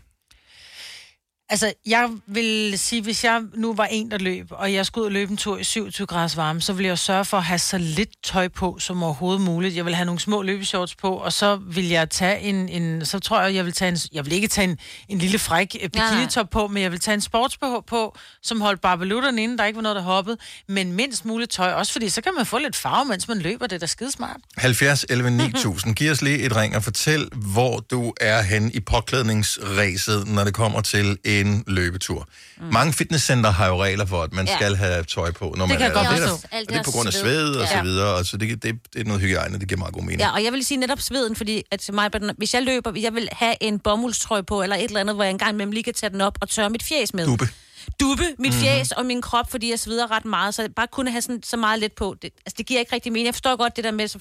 S1: Altså, jeg vil sige, hvis jeg nu var en, der løb, og jeg skulle ud og løbe en tur i 27 grader varme, så ville jeg jo sørge for at have så lidt tøj på som overhovedet muligt. Jeg vil have nogle små løbeshorts på, og så vil jeg tage en, en så tror jeg, jeg vil tage en, jeg vil ikke tage en, en lille fræk øh,
S3: Nej, nej.
S1: bikinitop på, men jeg vil tage en sportsbh på, som holdt barbelutterne inde, der ikke var noget, der hoppede, men mindst muligt tøj, også fordi så kan man få lidt farve, mens man løber, det er da skidesmart.
S2: 70 11
S3: Mhm.
S2: 9000. Giv os lige et ring og fortæl, hvor du er hen i påklædningsræset, når det kommer til en løbetur. Mm. Mange fitnesscenter har jo regler for, at man
S16: Ja.
S2: ja. skal have tøj på, når
S3: Det
S2: man
S3: kan
S2: er
S3: jeg
S2: der.
S3: godt
S2: det er,
S3: forstå.
S2: der,
S3: Alt
S2: og det er på
S3: deres
S2: grund af
S3: sved.
S2: sved og
S3: Ja.
S2: så videre, og så det, det, det er noget hygiejne, det giver meget god mening.
S3: Ja, og jeg vil sige netop sveden, fordi at til mig, hvis jeg løber, jeg vil have en bomuldstrøje på, eller et eller andet, hvor jeg engang imellem lige kan tage den op og tørre mit fjes med.
S2: Duppe.
S3: Duppe, mit
S2: Mhm.
S3: mm-hmm. fjes og min krop, fordi jeg sveder ret meget, så bare kunne have sådan, så meget lidt på. Det, altså, det giver ikke rigtig mening. Jeg forstår godt det der med, så,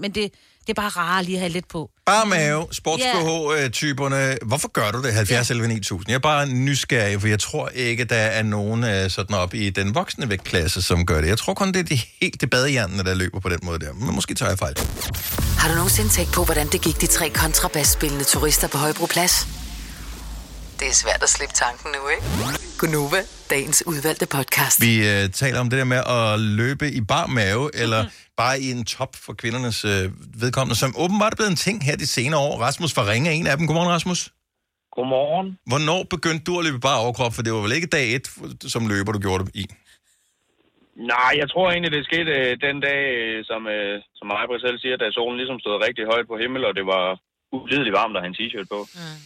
S3: men det, Det er bare rart lige at have lidt på.
S2: Bare mave, sports-BH-typerne. øh, Hvorfor gør du det? 70 11 9000. Jeg er bare nysgerrig, for jeg tror ikke, der er nogen øh, sådan op i den voksne vægtklasse, som gør det. Jeg tror kun, det er de helt det badehjernene, der løber på den måde der. Men måske tager jeg fejl.
S4: Har du nogensinde tænkt på, hvordan det gik de tre kontrabasspillende turister på Højbroplads? Det er svært at slippe tanken nu, ikke? Gunova, dagens udvalgte podcast.
S2: Vi øh, taler om det der med at løbe i bar mave, eller bare i en top for kvindernes øh, vedkommende, som åbenbart er blevet en ting her de senere år. Rasmus fra Ringe er en af dem. Godmorgen, Rasmus.
S16: Godmorgen.
S2: Hvornår begyndte du at løbe bare overkrop? For det var vel ikke dag et, som løber, du gjorde det i?
S16: Nej, jeg tror egentlig, det skete øh, den dag, øh, som, øh, som Majbrit selv siger, da solen ligesom stod rigtig højt på himmel, og det var ulideligt varmt at have en t-shirt på. Mm.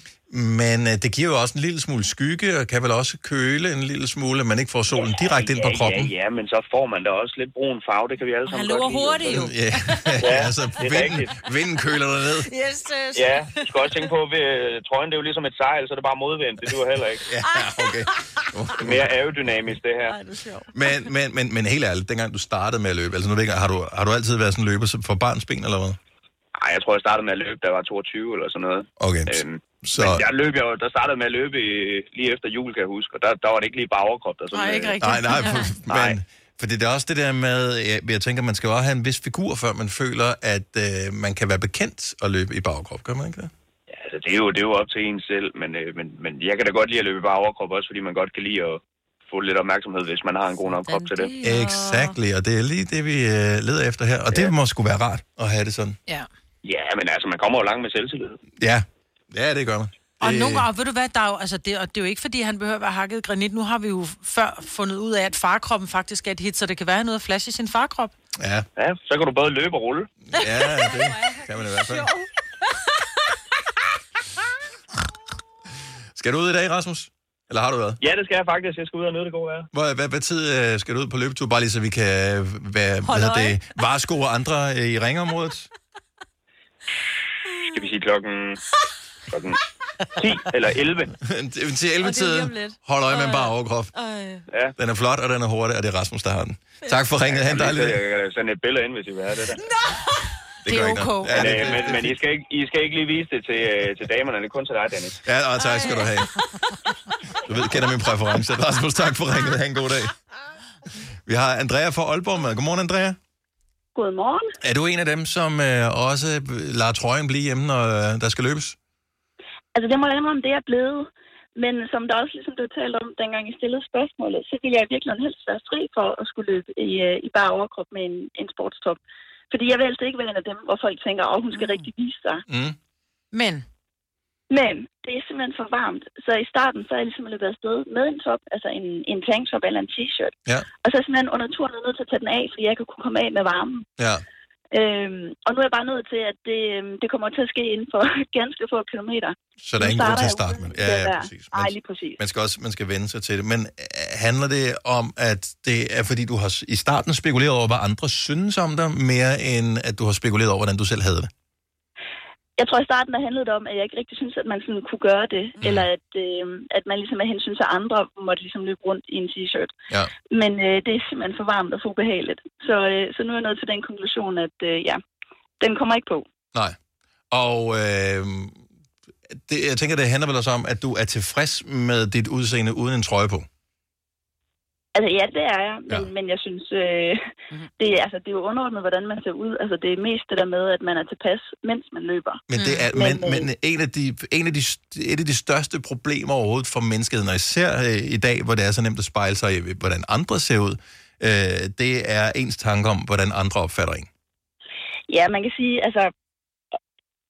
S2: Men øh, det giver jo også en lille smule skygge, og kan vel også køle en lille smule, at man ikke får solen ja, direkte ind
S16: ja,
S2: på kroppen.
S16: Ja, ja, men så får man da også lidt brun farve, det kan vi alle sammen godt lide.
S3: hurtigt jo.
S16: *laughs*
S2: Ja, ja altså
S16: det er
S2: vinden,
S16: rigtigt.
S2: vinden køler dig ned.
S3: Yes, yes.
S16: Ja, du skal også tænke på, at øh, trøjen det er jo ligesom et sejl, så er det bare modvind. Det duer heller ikke.
S2: Ja, okay. Det
S16: er *laughs* mere aerodynamisk, det her.
S2: Men, men, men, men helt ærligt, dengang du startede med at løbe, altså nu ved jeg ikke, har du, har du altid været sådan en løber som- for barnsben eller hvad?
S16: Ej, jeg tror, jeg startede med at løbe, da jeg var 22 eller sådan noget.
S2: Okay,
S16: Øhm,
S2: så-
S16: så... Men jeg løb, jeg, jo- der startede med at løbe øh, lige efter jul, kan jeg huske, og der, der var det ikke lige bare overkrop. Der, sådan, øh,
S2: Nej, nej, for, men, for det er også det der med, jeg, jeg tænker, man skal jo også have en vis figur, før man føler, at øh, man kan være bekendt at løbe i bagkrop, gør man ikke det?
S16: Altså, det er, jo, det er jo op til en selv, men, øh, men, men jeg kan da godt lide at løbe i bare overkrop, også fordi man godt kan lide at få lidt opmærksomhed, hvis man har en god nok krop til det.
S2: Exactly, og det er lige det, vi øh, leder efter her, og det må sgu være rart at have det sådan.
S1: Ja.
S16: Ja, men altså, man kommer jo langt med selvtillid.
S2: Ja, ja det gør man.
S1: Og
S2: Det-
S1: nogle gange, ved du hvad, der er jo, altså det, og det er jo ikke, fordi han behøver at være hakket i granit. Nu har vi jo før fundet ud af, at farkroppen faktisk er et hit, så det kan være noget at flashe i sin farkrop.
S2: Ja.
S16: ja, så kan du både løbe og rulle.
S2: Ja, det kan man i hvert fald. Skal du ud i dag, Rasmus? Eller har du været?
S16: Ja, det skal jeg faktisk. Jeg skal ud og nyde det gode vejr.
S2: Hvor, hvad, hvad tid øh, skal du ud på løbetur? Bare lige så vi kan øh, være, hvad
S16: Holde
S2: hedder
S16: øje.
S2: det, varesko og andre øh, i ringområdet.
S16: *laughs* Skal vi sige klokken... klokken 10 eller 11.
S2: *laughs* Til 11-tiden. Hold øje med en bare overkrop.
S15: øh,
S16: Ja.
S2: Den er flot, og den er hurtig, og det er Rasmus, der har den. Tak for ringet. Ha' en dejlig dag.
S16: Jeg kan da sende et billede ind, hvis I vil have det der.
S2: Det gør ikke noget. Ja,
S16: Men,
S2: det-
S16: øh, men, men I, skal ikke, I skal ikke lige vise det til, øh, til damerne. Det er kun til dig, Dennis.
S2: Ja, og tak skal du have. Du ved, kender min præference. Rasmus, tak for ringet. Ha' en god dag. Vi har Andrea fra Aalborg med. Godmorgen, Andrea.
S17: Godmorgen.
S2: Er du en af dem, som øh, også lader trøjen blive hjemme, når øh, der skal løbes?
S17: Altså, det må jeg indrømme, det er blevet. Men som der også ligesom blev talt om, dengang I stillede spørgsmålet, så ville jeg virkelig helst være fri for at skulle løbe i, øh, i bare overkrop med en, en sportstop. Fordi jeg vil altså ikke være en af dem, hvor folk tænker, at hun skal rigtig vise sig.
S2: Mm.
S1: Men?
S17: Men det er simpelthen for varmt. Så i starten, så er jeg ligesom løbet afsted med en top, altså en, en tanktop eller en t-shirt.
S2: Ja.
S17: Og så er jeg simpelthen under turen nødt til at tage den af, fordi jeg ikke kunne komme af med varmen.
S2: Ja.
S17: Øhm, og nu er jeg bare nødt til, at det, øhm, det kommer til at ske inden for *laughs* ganske få kilometer.
S2: Så der er
S17: Nu
S2: ingen grund
S17: starter
S2: til at
S17: jeg
S2: starte
S17: uden
S2: med det.
S17: det
S2: Ja, ja,
S17: der.
S2: præcis.
S17: Ej, lige præcis.
S2: Man skal også man skal vende sig til det. Men øh, handler det om, at det er fordi, du har s- i starten spekuleret over, hvad andre synes om dig, mere end at du har spekuleret over, hvordan du selv havde det?
S17: Jeg tror i starten, der handlede det om, at jeg ikke rigtig synes, at man sådan kunne gøre det, mm. eller at, øh, at man ligesom af hensyn til andre måtte ligesom løbe rundt i en t-shirt.
S2: Ja.
S17: Men øh, det er simpelthen for varmt og for ubehageligt. Så, øh, så nu er jeg nået til den konklusion, at øh, ja, den kommer ikke på.
S2: Nej. Og øh, det, jeg tænker, det handler vel også om, at du er tilfreds med dit udseende uden en trøje på.
S17: Altså ja, det er jeg, men, ja. men jeg synes, øh, det, er, altså, det er jo underordnet, hvordan man ser ud. Altså det er mest det der med, at man er tilpas, mens man løber.
S2: Men, det er, men, men en af de, en af de, et af de største problemer overhovedet for menneskeheden, og især øh, i dag, hvor det er så nemt at spejle sig i, hvordan andre ser ud, øh, det er ens tanke om, hvordan andre opfatter en.
S17: Ja, man kan sige, altså,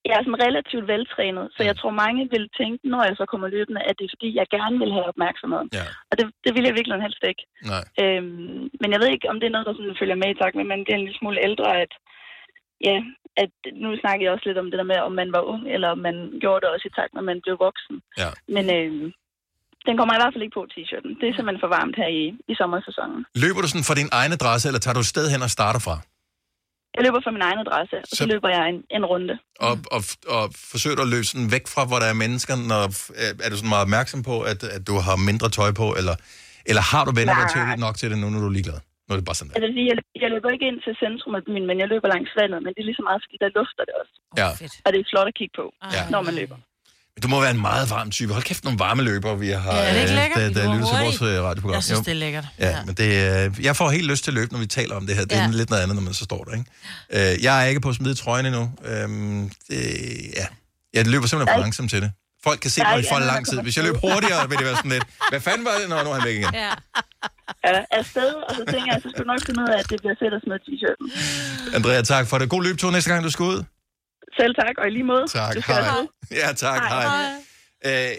S17: jeg er sådan relativt veltrænet, så
S2: Mm.
S17: jeg tror, mange vil tænke, når jeg så kommer løbende, at det er fordi, jeg gerne vil have opmærksomhed.
S2: Ja.
S17: Og det, det vil jeg virkelig helst ikke.
S2: Nej.
S17: Øhm, men jeg ved ikke, om det er noget, der sådan følger med i takt med, at man bliver en lille smule ældre, at ja, at nu snakker jeg også lidt om det der med, om man var ung, eller om man gjorde det også i takt med, at man blev voksen.
S2: Ja.
S17: Men øhm, den kommer i hvert fald ikke på t-shirten. Det er simpelthen for varmt her i, i sommersæsonen.
S2: Løber du sådan fra din egen adresse, eller tager du et sted hen og starter fra?
S17: Jeg løber fra min egen adresse, og så,
S2: Så-
S17: så løber jeg en, en runde.
S2: Og, og, og forsøger du at løbe sådan væk fra, hvor der er mennesker, når, øh, er du sådan meget opmærksom på, at, at du har mindre tøj på, eller, eller har du vendt dig til
S17: Nej.
S2: nok til det nu, når du er ligeglad? Nu er det bare sådan der.
S17: Altså, det vil sige, jeg, jeg løber ikke ind til centrum af byen, men jeg løber langs vandet, men det er lige så meget, fordi der lufter det også.
S2: Ja.
S17: Og det er flot at kigge på,
S2: Ja.
S17: når man løber.
S2: Men du må være en meget varm type. Hold kæft, nogle varme løbere, vi har
S17: Ja, er det ikke
S2: øh,
S17: lækkert?
S2: der,
S17: Vi
S2: der
S17: går
S2: lytter til vores
S17: hurtigt.
S2: øh, radioprogram.
S1: Jeg synes,
S2: Jo.
S1: det er lækkert.
S2: Ja, ja. men det, øh, jeg får helt lyst til at løbe, når vi taler om det her. Det er
S1: Ja.
S2: ja. lidt noget andet, når man så står der, ikke? Øh, jeg er ikke på at smide trøjen endnu. Øhm, det, ja. Jeg løber
S17: Der er
S2: simpelthen for
S17: ikke-
S2: langsomt til det. Folk kan se
S17: Der er
S2: mig
S17: ikke
S2: for
S17: andet, der
S2: lang tid.
S17: kommer
S2: Hvis jeg løb
S17: til.
S2: hurtigere, vil det være sådan lidt. Hvad fanden var det? Nå, nu er han væk igen.
S17: Ja. ja afsted, og så tænker jeg, så skal du nok finde ud af, at det bliver fedt at smide t-shirten.
S2: Andrea, tak for det. God løbetur næste gang, du skal ud.
S17: Selv tak, og i lige måde.
S2: Tak,
S17: Du skal
S2: hej.
S17: afsted.
S2: *laughs* Ja, tak, hej. hej. Øh,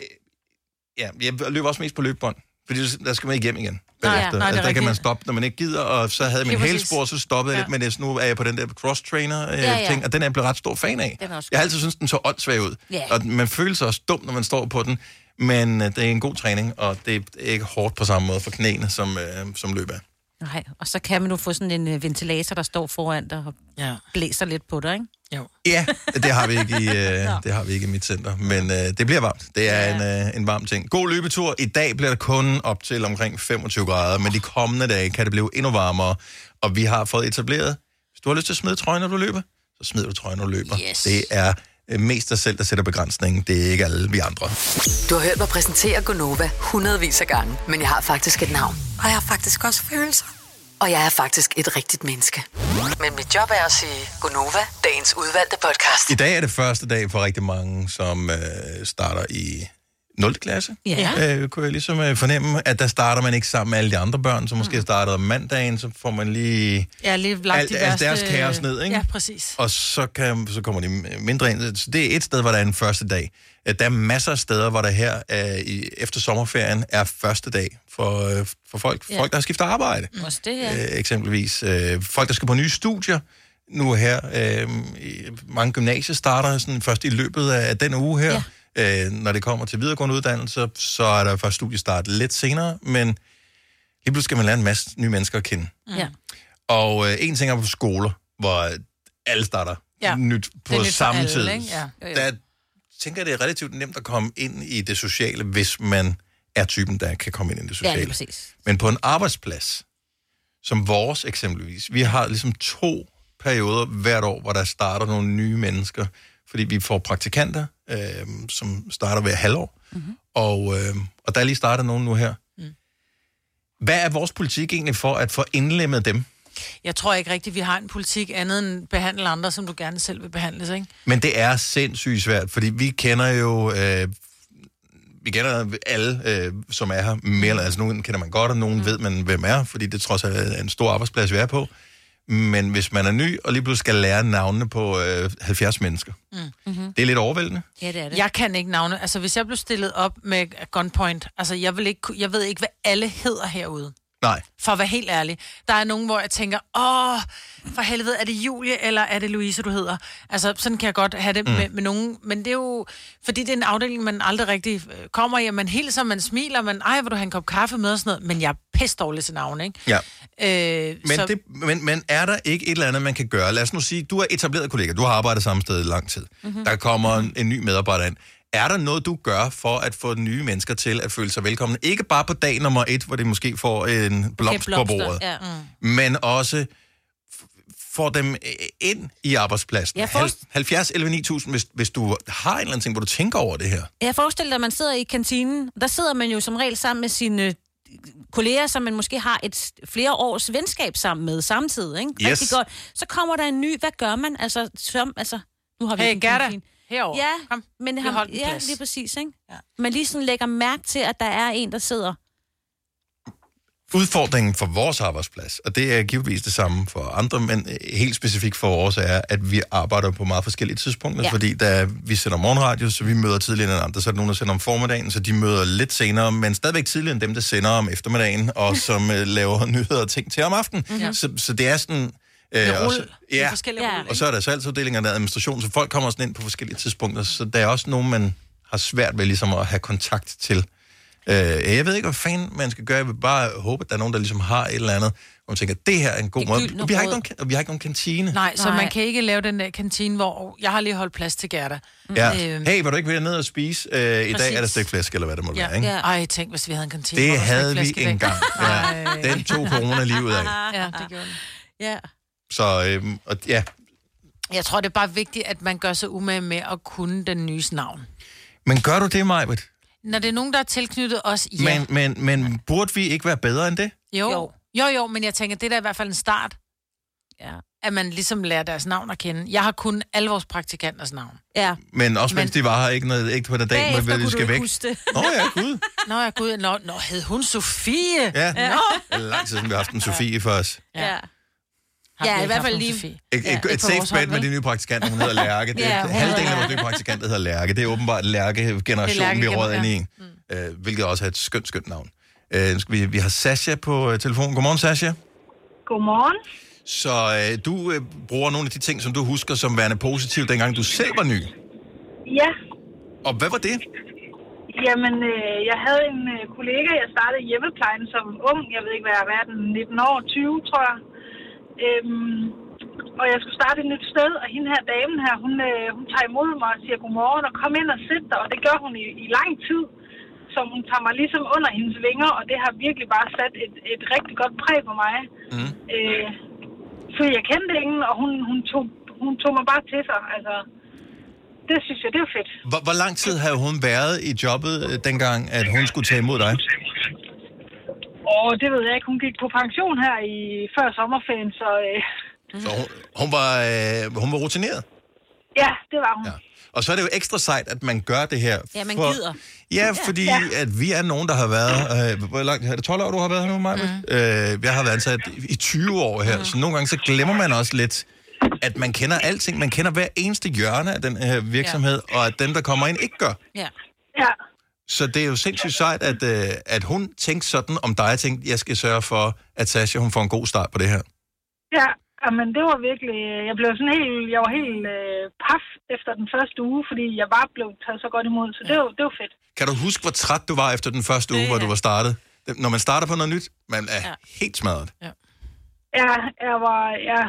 S2: ja, jeg løber også mest på løbebånd, fordi der skal man ikke hjem igen.
S1: Nej, nej,
S2: bagefter.
S1: det er
S2: altså, der kan
S1: rigtigt.
S2: man stoppe, når man ikke gider, og så havde jeg min
S1: Lige præcis.
S2: hælspor, så stoppede jeg
S1: Ja.
S2: lidt, men jeg- nu er jeg på den der cross-trainer-ting,
S1: Ja, ja.
S2: og den er jeg blevet ret stor fan af.
S1: Den er også
S2: jeg har
S1: god.
S2: altid syntes, den så åndssvag ud,
S1: Ja.
S2: og man føler sig også dum, når man står på den, men øh, det er en god træning, og det er ikke hårdt på samme måde for knæene, som, øh, som løb er.
S3: Nej, og så kan man jo få sådan en øh, ventilator, der står foran dig og
S1: ja.
S3: blæser lidt på dig, ikke?
S1: Jo.
S2: Ja, det har
S4: *laughs*
S2: vi ikke i, øh, det har vi ikke i mit center, men øh, det bliver varmt. Det er en, øh, en varm ting. God løbetur. I dag bliver der kun op til omkring 25 grader, men de kommende dage kan det blive endnu varmere. Og vi har fået etableret, hvis du har lyst til at smide trøjen, når du løber, så smider du trøjen, når du løber.
S4: Yes.
S2: Det er øh, mest dig selv, der sætter begrænsningen. Det er ikke alle vi andre.
S4: Du har hørt mig præsentere Gonova hundredvis af gange, men jeg har faktisk et navn. Og jeg har faktisk også følelser. Og jeg er faktisk et rigtigt menneske. Men mit job er at sige Gonova, dagens udvalgte podcast.
S2: I dag er det første dag for rigtig mange, som øh, starter i 0. klasse.
S4: Ja.
S2: Øh, kunne jeg ligesom øh, fornemme, at der starter man ikke sammen med alle de andre børn, som
S4: Mm.
S2: måske startede om mandagen, så får man lige...
S1: Jeg har lige lagt
S2: Alt-
S1: de
S2: alt
S1: værste...
S2: deres kaos ned, ikke?
S1: Ja, præcis.
S2: Og så, kan, så kommer de mindre ind. Så det er et sted, hvor der er en første dag. Øh, Der er masser af steder, hvor der her øh, i, efter sommerferien er første dag for, øh, for folk,
S3: Ja.
S2: folk, der har skiftet arbejde.
S1: Mm,
S3: Mm. Også det her.
S2: Øh, eksempelvis øh, folk, der skal på nye studier nu her. Øh, i- mange gymnasier starter sådan først i løbet af, af den uge her. Ja. Øh, når det kommer til videregående uddannelser, så er der først studiestart lidt senere, men lige pludselig skal man lære en masse nye mennesker at kende.
S3: Mm. Ja.
S2: Og øh, en ting er på skoler, hvor øh, alle starter
S1: Ja.
S2: ja. nyt
S1: Det er
S2: på
S1: nyt for
S2: samme
S1: alle,
S2: tid.
S1: ikke? Ja. Jo, jo.
S2: Der tænker jeg, det er relativt nemt at komme ind i det sociale, hvis man er typen, der kan komme ind i det
S3: Ja,
S2: sociale.
S3: lige præcis.
S2: Men på en arbejdsplads, som vores eksempelvis, vi har ligesom to perioder hvert år, hvor der starter nogle nye mennesker, fordi vi får praktikanter, øh, som starter hver halvår, mm-hmm. og, øh, og der er lige startet nogen nu her. Mm. Hvad er vores politik egentlig for at få indlemmet dem?
S1: Jeg tror ikke rigtigt, vi har en politik andet end behandle andre, som du gerne selv vil behandles, ikke?
S2: Men det er sindssygt svært, fordi vi kender jo... Øh, vi kender alle, øh, som er her. Mere, eller- altså, nogen kender man godt, og nogen mm. ved man, hvem er, fordi det trods alt er en stor arbejdsplads, vi er på. Men hvis man er ny, og lige pludselig skal lære navnene på øh, 70 mennesker,
S1: Mm-hmm.
S2: det er lidt overvældende.
S3: Mm. Ja, det er det.
S1: Jeg kan ikke navne. Altså, hvis jeg blev stillet op med gunpoint, altså, jeg, vil ikke, ku- jeg ved ikke, hvad alle hedder herude.
S2: Nej.
S1: For at være helt ærlig. Der er nogen, hvor jeg tænker, åh, for helvede, er det Julie, eller er det Louise, du hedder? Altså, sådan kan jeg godt have det
S14: Mm.
S1: mm. med, med nogen. Men det er jo, fordi det er en afdeling, man aldrig rigtig øh, kommer i, og man hilser, man smiler, man, ej, hvor du have en kop kaffe med og sådan noget. Men jeg er pisse dårlig til navne, ikke?
S2: Ja.
S1: Øh,
S2: Men, det, men, men er der ikke et eller andet, man kan gøre? Lad os nu sige, du er etableret kollega, du har arbejdet samme sted i lang tid.
S3: Mhm.
S2: Mm-hmm. Der kommer en, en ny medarbejder ind. Er der noget, du gør for at få nye mennesker til at føle sig velkomne? Ikke bare på dag nummer et, hvor de måske får en blomst på bordet,
S3: Ja. Mm.
S2: men også f- får dem øh, ind i arbejdspladsen.
S3: Ja, for-
S2: Hal- 70 11 9000, hvis, hvis du har en eller anden ting, hvor du tænker over det her.
S3: Jeg forestiller dig, at man sidder i kantinen. Der sidder man jo som regel sammen med sine kolleger, som man måske har et flere års venskab sammen med samtidig. Ikke?
S1: Yes.
S3: Rigtig godt. Så kommer der en ny. Hvad gør man? Altså, som, altså nu har vi
S1: Hey,
S3: ikke en
S1: Gerda,
S3: kantine.
S1: herover.
S3: Ja,
S1: Kom,
S3: men
S1: vi
S3: ham,
S1: holdt en
S3: ja,
S1: plads.
S3: lige præcis. Ikke? Ja. Man lige sådan lægger mærke til, at der er en, der sidder.
S2: Udfordringen for vores arbejdsplads, og det er givetvis det samme for andre, men øh, helt specifikt for vores, er, at vi arbejder på meget forskellige tidspunkter,
S5: Ja.
S2: ja. fordi da vi sender morgenradio, så vi møder tidligere end andre, så er der nogen, der sender om formiddagen, så de møder lidt senere, men stadigvæk tidligere end dem, der sender om eftermiddagen,
S1: *laughs*
S2: og som øh, laver nyheder og ting til om aftenen.
S1: Mhm.
S2: Mm-hmm. Så, så det er sådan...
S1: Med
S2: Øh, og så-
S1: rulle. Det er forskellige rulle, ikke?
S2: og så er der salgsafdelinger, der er administration, så folk kommer sådan ind på forskellige tidspunkter, så der er også nogen, man har svært ved ligesom at have kontakt til. Øh, jeg ved ikke, hvad fanden man skal gøre. Jeg vil bare håbe, at der er nogen, der ligesom har et eller andet, hvor man tænker, det her er en god måde.
S1: gyldne
S2: Og vi, har ikke
S1: råd.
S2: nogen, og vi har ikke nogen kantine.
S1: Nej, så man kan ikke lave den der kantine, hvor jeg har lige holdt plads til Gerda.
S2: Ja.
S1: Øhm,
S2: Hey, vil du ikke være ned og spise? Øh, I dag er der
S1: Præcis.
S2: stik flæsk, eller hvad det må
S1: ja.
S2: være, ikke?
S1: Ja. Ej, tænk, hvis vi havde en kantine. hvor
S2: Det
S1: der var
S2: havde vi
S1: slikflæsk i dag. *laughs*
S2: engang. Ja. Den tog corona lige ud af.
S1: Ja, det gjorde den. Ja.
S2: Så øhm, og, ja,
S1: Jeg tror, det er bare vigtigt, at man gør sig umage med at kunne den nyes navn.
S2: men gør du det, Majbet?
S1: Når det er nogen, der er tilknyttet os, ja.
S2: Men, men, men burde vi ikke være bedre end det?
S1: Jo. jo. Jo, jo, men jeg tænker, det er da i hvert fald en start. Ja. At man ligesom lærer deres navn at kende. Jeg har kun alle vores praktikanters navn.
S3: Ja.
S2: Men også mens de var her, ikke, noget, ikke på den dag, hvor de skal væk.
S1: det.
S2: Nå ja, gud.
S1: *laughs* Nå ja, gud. Nå, nå hed hun Sofie?
S2: Ja.
S1: Nå.
S2: Det er lang tid siden, vi har haft
S1: *laughs*
S2: en Sofie for os.
S3: Ja.
S1: vi
S3: Ja, i
S1: ikke
S3: hvert
S1: haft
S3: fald
S1: nogen
S3: lige...
S1: Sofie?
S2: Et,
S3: Ja.
S2: et, et
S3: På
S2: safe
S3: vores
S2: bet
S3: hold,
S2: med de
S3: vel?
S2: nye praktikanter, hun hedder Lærke. Det,
S3: Ja,
S2: ja,
S3: hun
S2: halvdelen
S3: hedder
S2: af vores nye praktikanter hedder Lærke. Det er åbenbart Lærke-generationen, vi
S1: Lærke-gener-
S2: er råd ind i. Øh, hvilket også er et skønt, skønt navn. Øh, nu skal vi, vi har Sasha på øh, telefonen. Godmorgen, Sasha.
S18: Godmorgen.
S2: Så øh, du øh, bruger nogle af de ting, som du husker som værende positive, dengang du selv var ny.
S18: Ja,
S2: Og hvad var det?
S18: jamen, øh, jeg havde en øh, kollega, jeg startede i hjemmeplejen som ung. Jeg ved ikke, hvad jeg har været, 19 år, 20, tror jeg. Øhm, og jeg skulle starte et nyt sted, og hende her damen her, hun, øh, hun tager imod mig og siger godmorgen, og kom ind og sæt dig, og det gør hun i, i lang tid. Så hun tager mig ligesom under hendes vinger, og det har virkelig bare sat et, et rigtig godt præg på mig.
S2: Mm.
S18: Øh, fordi jeg kendte ingen, og hun, hun, tog, hun tog mig bare til sig. Altså, det synes jeg, det var fedt.
S2: Hvor, hvor lang tid havde hun været i jobbet, øh, dengang at hun skulle tage imod dig?
S18: Og det ved jeg ikke. Hun gik på pension her i før sommerferien, så øh,
S2: Så hun, hun, var, øh, hun var rutineret.
S18: ja, det var hun. Ja.
S2: Og så er det jo ekstra sejt, at man gør det her.
S18: Ja, man gider.
S2: Ja, fordi ja. at vi er nogen, der har været... Øh, hvor langt er det? 12 år, du har været her nu, Maja? Mm. Øh, jeg har været ansat i 20 år her, mm. så nogle gange så glemmer man også lidt, at man kender alting. Man kender hver eneste hjørne af den her virksomhed, ja. og at dem, der kommer ind, ikke gør.
S18: Ja. ja.
S2: Så det er jo sindssygt sejt, at, øh, at hun tænkte sådan om dig. Jeg tænkte, jeg skal sørge for, at Sasha hun får en god start på det her.
S18: Ja, men det var virkelig... øh, Jeg blev sådan helt... Jeg var helt øh, paf efter den første uge, fordi jeg bare blev taget så godt imod, så det var, det var fedt.
S2: Kan du huske, hvor træt du var efter den første uge, hvor du var startet? Det- Når man starter på noget nyt, man er ja. helt smadret.
S18: Ja, jeg var... Jeg,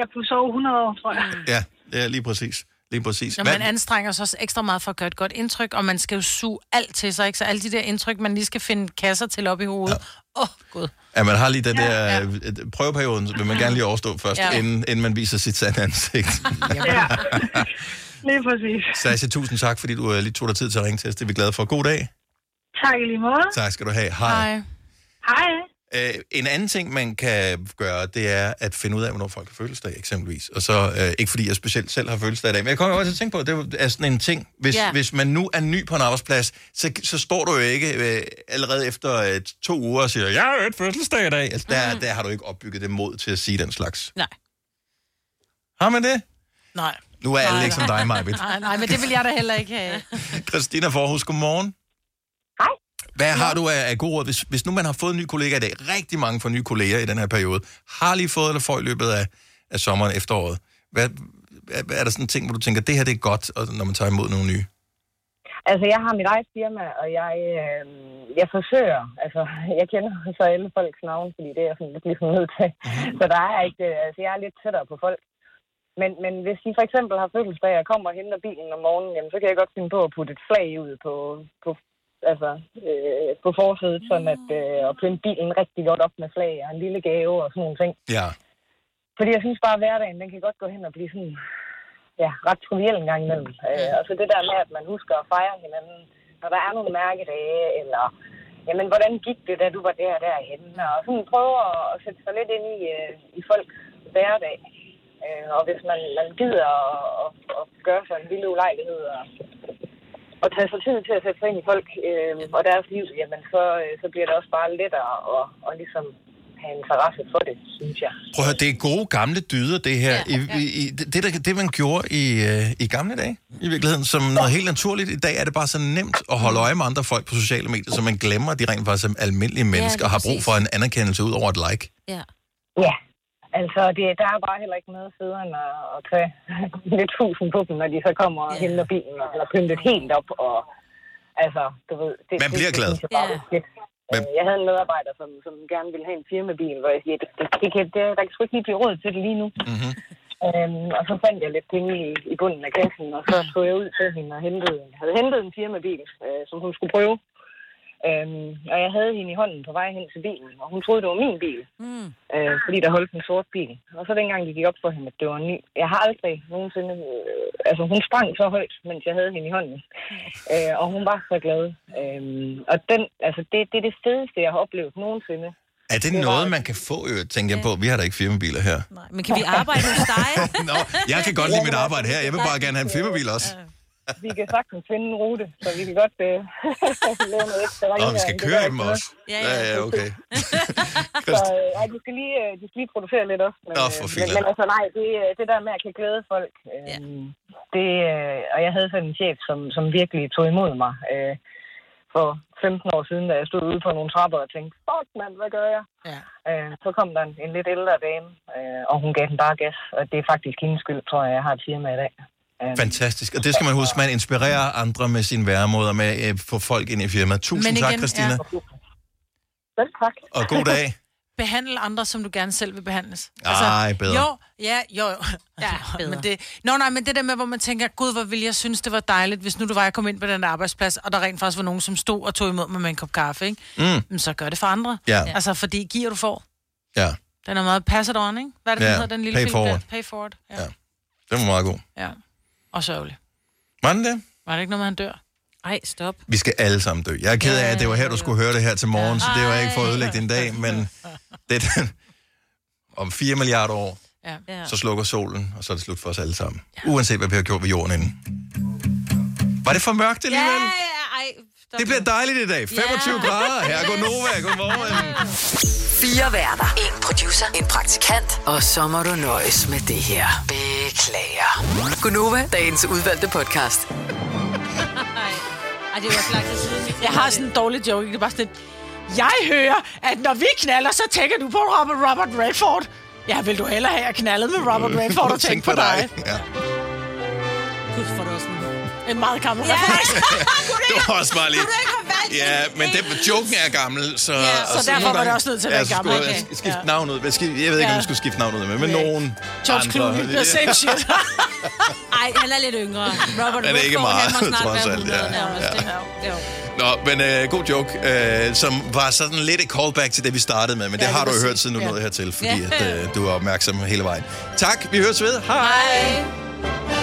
S18: jeg kunne sove 100 år, tror jeg.
S1: Mm.
S2: Ja, ja lige præcis. Lige præcis.
S1: Når
S2: Hvad-
S1: man anstrenger sig også ekstra meget for at gøre et godt indtryk, og man skal jo suge alt til sig, ikke? Så alle de der indtryk, man lige skal finde kasser til op i hovedet. Åh, ja. oh, gud.
S2: Ja, man har lige den der ja, ja. prøveperioden, vil man gerne lige overstå først,
S1: Ja.
S2: ja. inden, inden man viser sit sande *laughs* ansigt.
S18: Ja. Lige præcis.
S2: Sasha, tusind tak, fordi du øh, lige tog dig tid til at ringe til os. Det er vi glade for. God dag.
S18: Tak i lige måde.
S2: Tak skal du have. Hej.
S18: Hej.
S2: Øh, en anden ting, man kan gøre, det er at finde ud af, hvornår folk har fødselsdag, eksempelvis. Og så, øh, ikke fordi jeg specielt selv har fødselsdag i dag, men jeg kommer også til at tænke på, at det er sådan en ting. Hvis,
S19: Ja.
S2: yeah. hvis man nu er ny på en arbejdsplads, så, så står du jo ikke øh, allerede efter øh, to uger og siger, jeg har jo et fødselsdag i dag. Altså, der, mm. der har du ikke opbygget det mod til at sige den slags.
S1: Mhm. Nej.
S2: Har man det?
S1: Nej.
S2: Nu er alle
S1: Nej,
S2: ikke som
S1: nej.
S2: dig, Majbet.
S1: Nej, nej, men det vil jeg da heller ikke øh. have.
S2: Christina Forhus, godmorgen.
S18: Hej.
S2: Hvad har du af, af gode råd, hvis, hvis nu man har fået en ny kollega i dag, rigtig mange får nye kolleger i den her periode, har lige fået eller får i løbet af, af sommeren, efteråret, hvad, hvad, er der sådan en ting, hvor du tænker, det her det er godt, og, når man tager imod nogle nye?
S20: Altså, jeg har mit eget firma, og jeg, øh, jeg forsøger. Altså, jeg kender så alle folks navne, fordi det er jeg sådan lidt ligesom nødt til. Så der er ikke, øh, altså, jeg er lidt tættere på folk. Men, men hvis de for eksempel har fødselsdag og kommer og henter bilen om morgenen, jamen, så kan jeg godt finde på at putte et flag ud på, på, altså, øh, på forsædet, sådan at øh, og pynte bilen rigtig godt op med flag og en lille gave og sådan nogle ting.
S2: Ja.
S20: Fordi jeg synes bare, at hverdagen den kan godt gå hen og blive sådan, ja, ret triviel en gang imellem. Øh, og så det der med, at man husker at fejre hinanden, når der er nogle mærkedage, eller jamen, hvordan gik det, da du var der og derhenne? Og sådan prøve at, at sætte sig lidt ind i, øh, i folks hverdag. Øh, og hvis man, man gider at, at, at gøre sig en lille ulejlighed og, og tage sig tid til at sætte sig ind i folk øh, og deres liv, jamen så, øh, så bliver det også bare lettere at, at ligesom have interesse for det, synes jeg.
S2: Prøv at høre, det er gode gamle dyder, det her. Ja, ja. I, i, det, det, der, det, man gjorde i, øh, i gamle dage, i virkeligheden, som noget helt naturligt. I dag er det bare så nemt at holde øje med andre folk på sociale medier, så man glemmer, at de rent faktisk er almindelige mennesker,
S20: lige
S2: og har brug
S20: præcis.
S2: for en anerkendelse ud over et like.
S20: Ja. Ja, altså det, der er bare heller ikke noget federe end at, at *laughs* tage lidt husen på dem, når de så kommer og henter bilen og, eller pyntet helt op. Og, Altså, du ved... Det,
S2: Man bliver glad.
S20: synes jeg bare var fedt.
S2: Men-
S20: Øh, Jeg havde en medarbejder, som, som gerne ville have en firmabil, hvor jeg siger, det, det, det, kan, det, der kan sgu ikke lige blive råd til det lige nu.
S2: Mm-hmm.
S20: Øhm, og så fandt jeg lidt penge i, i bunden af kassen, og så tog jeg ud til hende og hentede, havde hentet en firmabil, øh, som hun skulle prøve. Øhm, og jeg havde hende i hånden på vej hen til bilen, og hun troede, det var min bil,
S15: Mm.
S20: øh, fordi der holdt en sort bil. Og så dengang det gik op for hende, at det var en ny. Jeg har aldrig nogensinde... Øh, altså, hun sprang så højt, mens jeg havde hende i hånden. Øh, og hun var så glad. Øhm, og den, altså, det, det er det fedeste, jeg har oplevet nogensinde.
S2: Er det noget, man kan få, jo, tænker jeg på? Vi har da ikke firmabiler her.
S3: Men kan vi arbejde hos dig?
S2: Nå, jeg kan godt lide mit arbejde her. Jeg vil bare gerne have en firmabil også.
S20: *laughs* Vi kan sagtens finde en rute, så vi kan godt øh, *laughs* lave noget ekstra
S2: Nå, vi skal
S20: rengøring. Det gør
S2: køre i dem
S20: ikke noget.
S2: også. Ja, ja, okay.
S20: *laughs* Så øh, ej, de, skal lige, øh, de skal lige producere lidt også. Men,
S2: Nå,
S20: øh,
S2: for
S20: men,
S2: filan.
S20: men altså nej, det, øh, det der med at kan glæde folk, øh, ja. det, øh, og jeg havde sådan en chef, som, som virkelig tog imod mig øh, for 15 år siden, da jeg stod ude på nogle trapper og tænkte, fuck mand, hvad gør jeg?
S1: Ja.
S20: Øh, så kom der en, en lidt ældre dame, øh, og hun gav den bare gas, og det er faktisk hendes skyld, tror jeg, jeg har et firma i dag. Øhm,
S2: Fantastisk. Og det skal man huske. Man inspirerer andre med sin væremåde og med at øh, få folk ind i firmaet. Tusind
S1: Men
S2: igen, tak,
S1: igen,
S2: Christina. Ja.
S1: ja.
S20: Selv tak.
S2: Og god dag.
S1: Behandle andre, som du gerne selv vil behandles. Altså,
S2: Ej, bedre.
S1: Jo, ja, jo, jo. Ja, bedre. Men det, no, nej, men det der med, hvor man tænker, gud, hvor ville jeg synes, det var dejligt, hvis nu du var, jeg kom ind på den der arbejdsplads, og der rent faktisk var nogen, som stod og tog imod mig med en kop kaffe, ikke?
S2: Mm.
S1: Men så gør det for andre.
S2: Ja.
S1: Altså, fordi giver du får.
S2: Ja,
S1: Den er meget pass it on, ikke? Hvad er det,
S2: Ja,
S1: ja. hedder den lille
S2: pay
S1: film?
S2: forward.
S1: Der? Pay forward. Ja. ja.
S2: det var meget god.
S1: ja. Og sørgelig.
S2: Var den det?
S1: Var det ikke noget med, han dør? Nej, stop.
S2: Vi skal alle sammen dø. Jeg er ked af, at det var her, du skulle høre det her til morgen, så det var ikke for at ødelægge din dag,
S1: *laughs*
S2: men det er den. om 4 milliarder år,
S1: Ja. ja.
S2: så slukker solen, og så er det slut for os alle sammen. Uanset hvad vi har gjort ved jorden inden. Var det for mørkt alligevel?
S3: Ja, ja, ej. stop
S2: Det bliver
S3: nu.
S2: dejligt i dag. 25
S3: Ja.
S2: grader. Her er
S1: *laughs*
S2: Gunova. Godmorgen.
S4: Fire værter. En producer. En praktikant. Og så må du nøjes med det her. Beklager. Gunova, dagens udvalgte podcast.
S3: Ej, det var ikke lang tid siden.
S1: Jeg har sådan en dårlig joke, det er bare sådan lidt, jeg hører, at når vi knaller, så tænker du på Robert, Robert Redford. Ja, vil du hellere have knaldet med
S2: *laughs*
S1: Robert Redford og tænke på dig?
S2: Ja.
S1: Gud, for det også en, en meget gammel ja.
S2: Det var også bare lige... Ja, men den, joken er gammel, så...
S1: Ja,
S2: og
S1: så derfor
S2: nogle
S1: var det
S2: gange-
S1: også nødt til at være
S2: så
S1: gammel,
S2: skulle jeg
S1: ikke?
S2: Skifte
S1: Ja.
S2: navn ud. Jeg skal- jeg ved ikke,
S1: Ja.
S2: om du skulle skifte navn ud med, men
S1: Nej.
S2: nogen
S1: George Clooney,
S2: andre. *laughs*
S1: the same shit.
S3: *laughs* Ej, han er lidt yngre. Robert
S2: Han er ikke
S3: Redford, han
S2: meget,
S3: må snart
S2: trods
S3: være
S2: alt,
S3: 100
S2: ja.
S3: nærmest,
S2: Ja.
S3: ikke? Jo.
S2: Nå, men øh, god joke, øh, som var sådan lidt et callback til det, vi startede med, men det
S3: Ja,
S2: har
S3: det
S2: du
S3: vil sige.
S2: hørt siden du
S3: Ja.
S2: nåede hertil, fordi
S3: Ja.
S2: at, øh, du var opmærksom hele vejen. Tak, vi høres ved. Hej! Hej.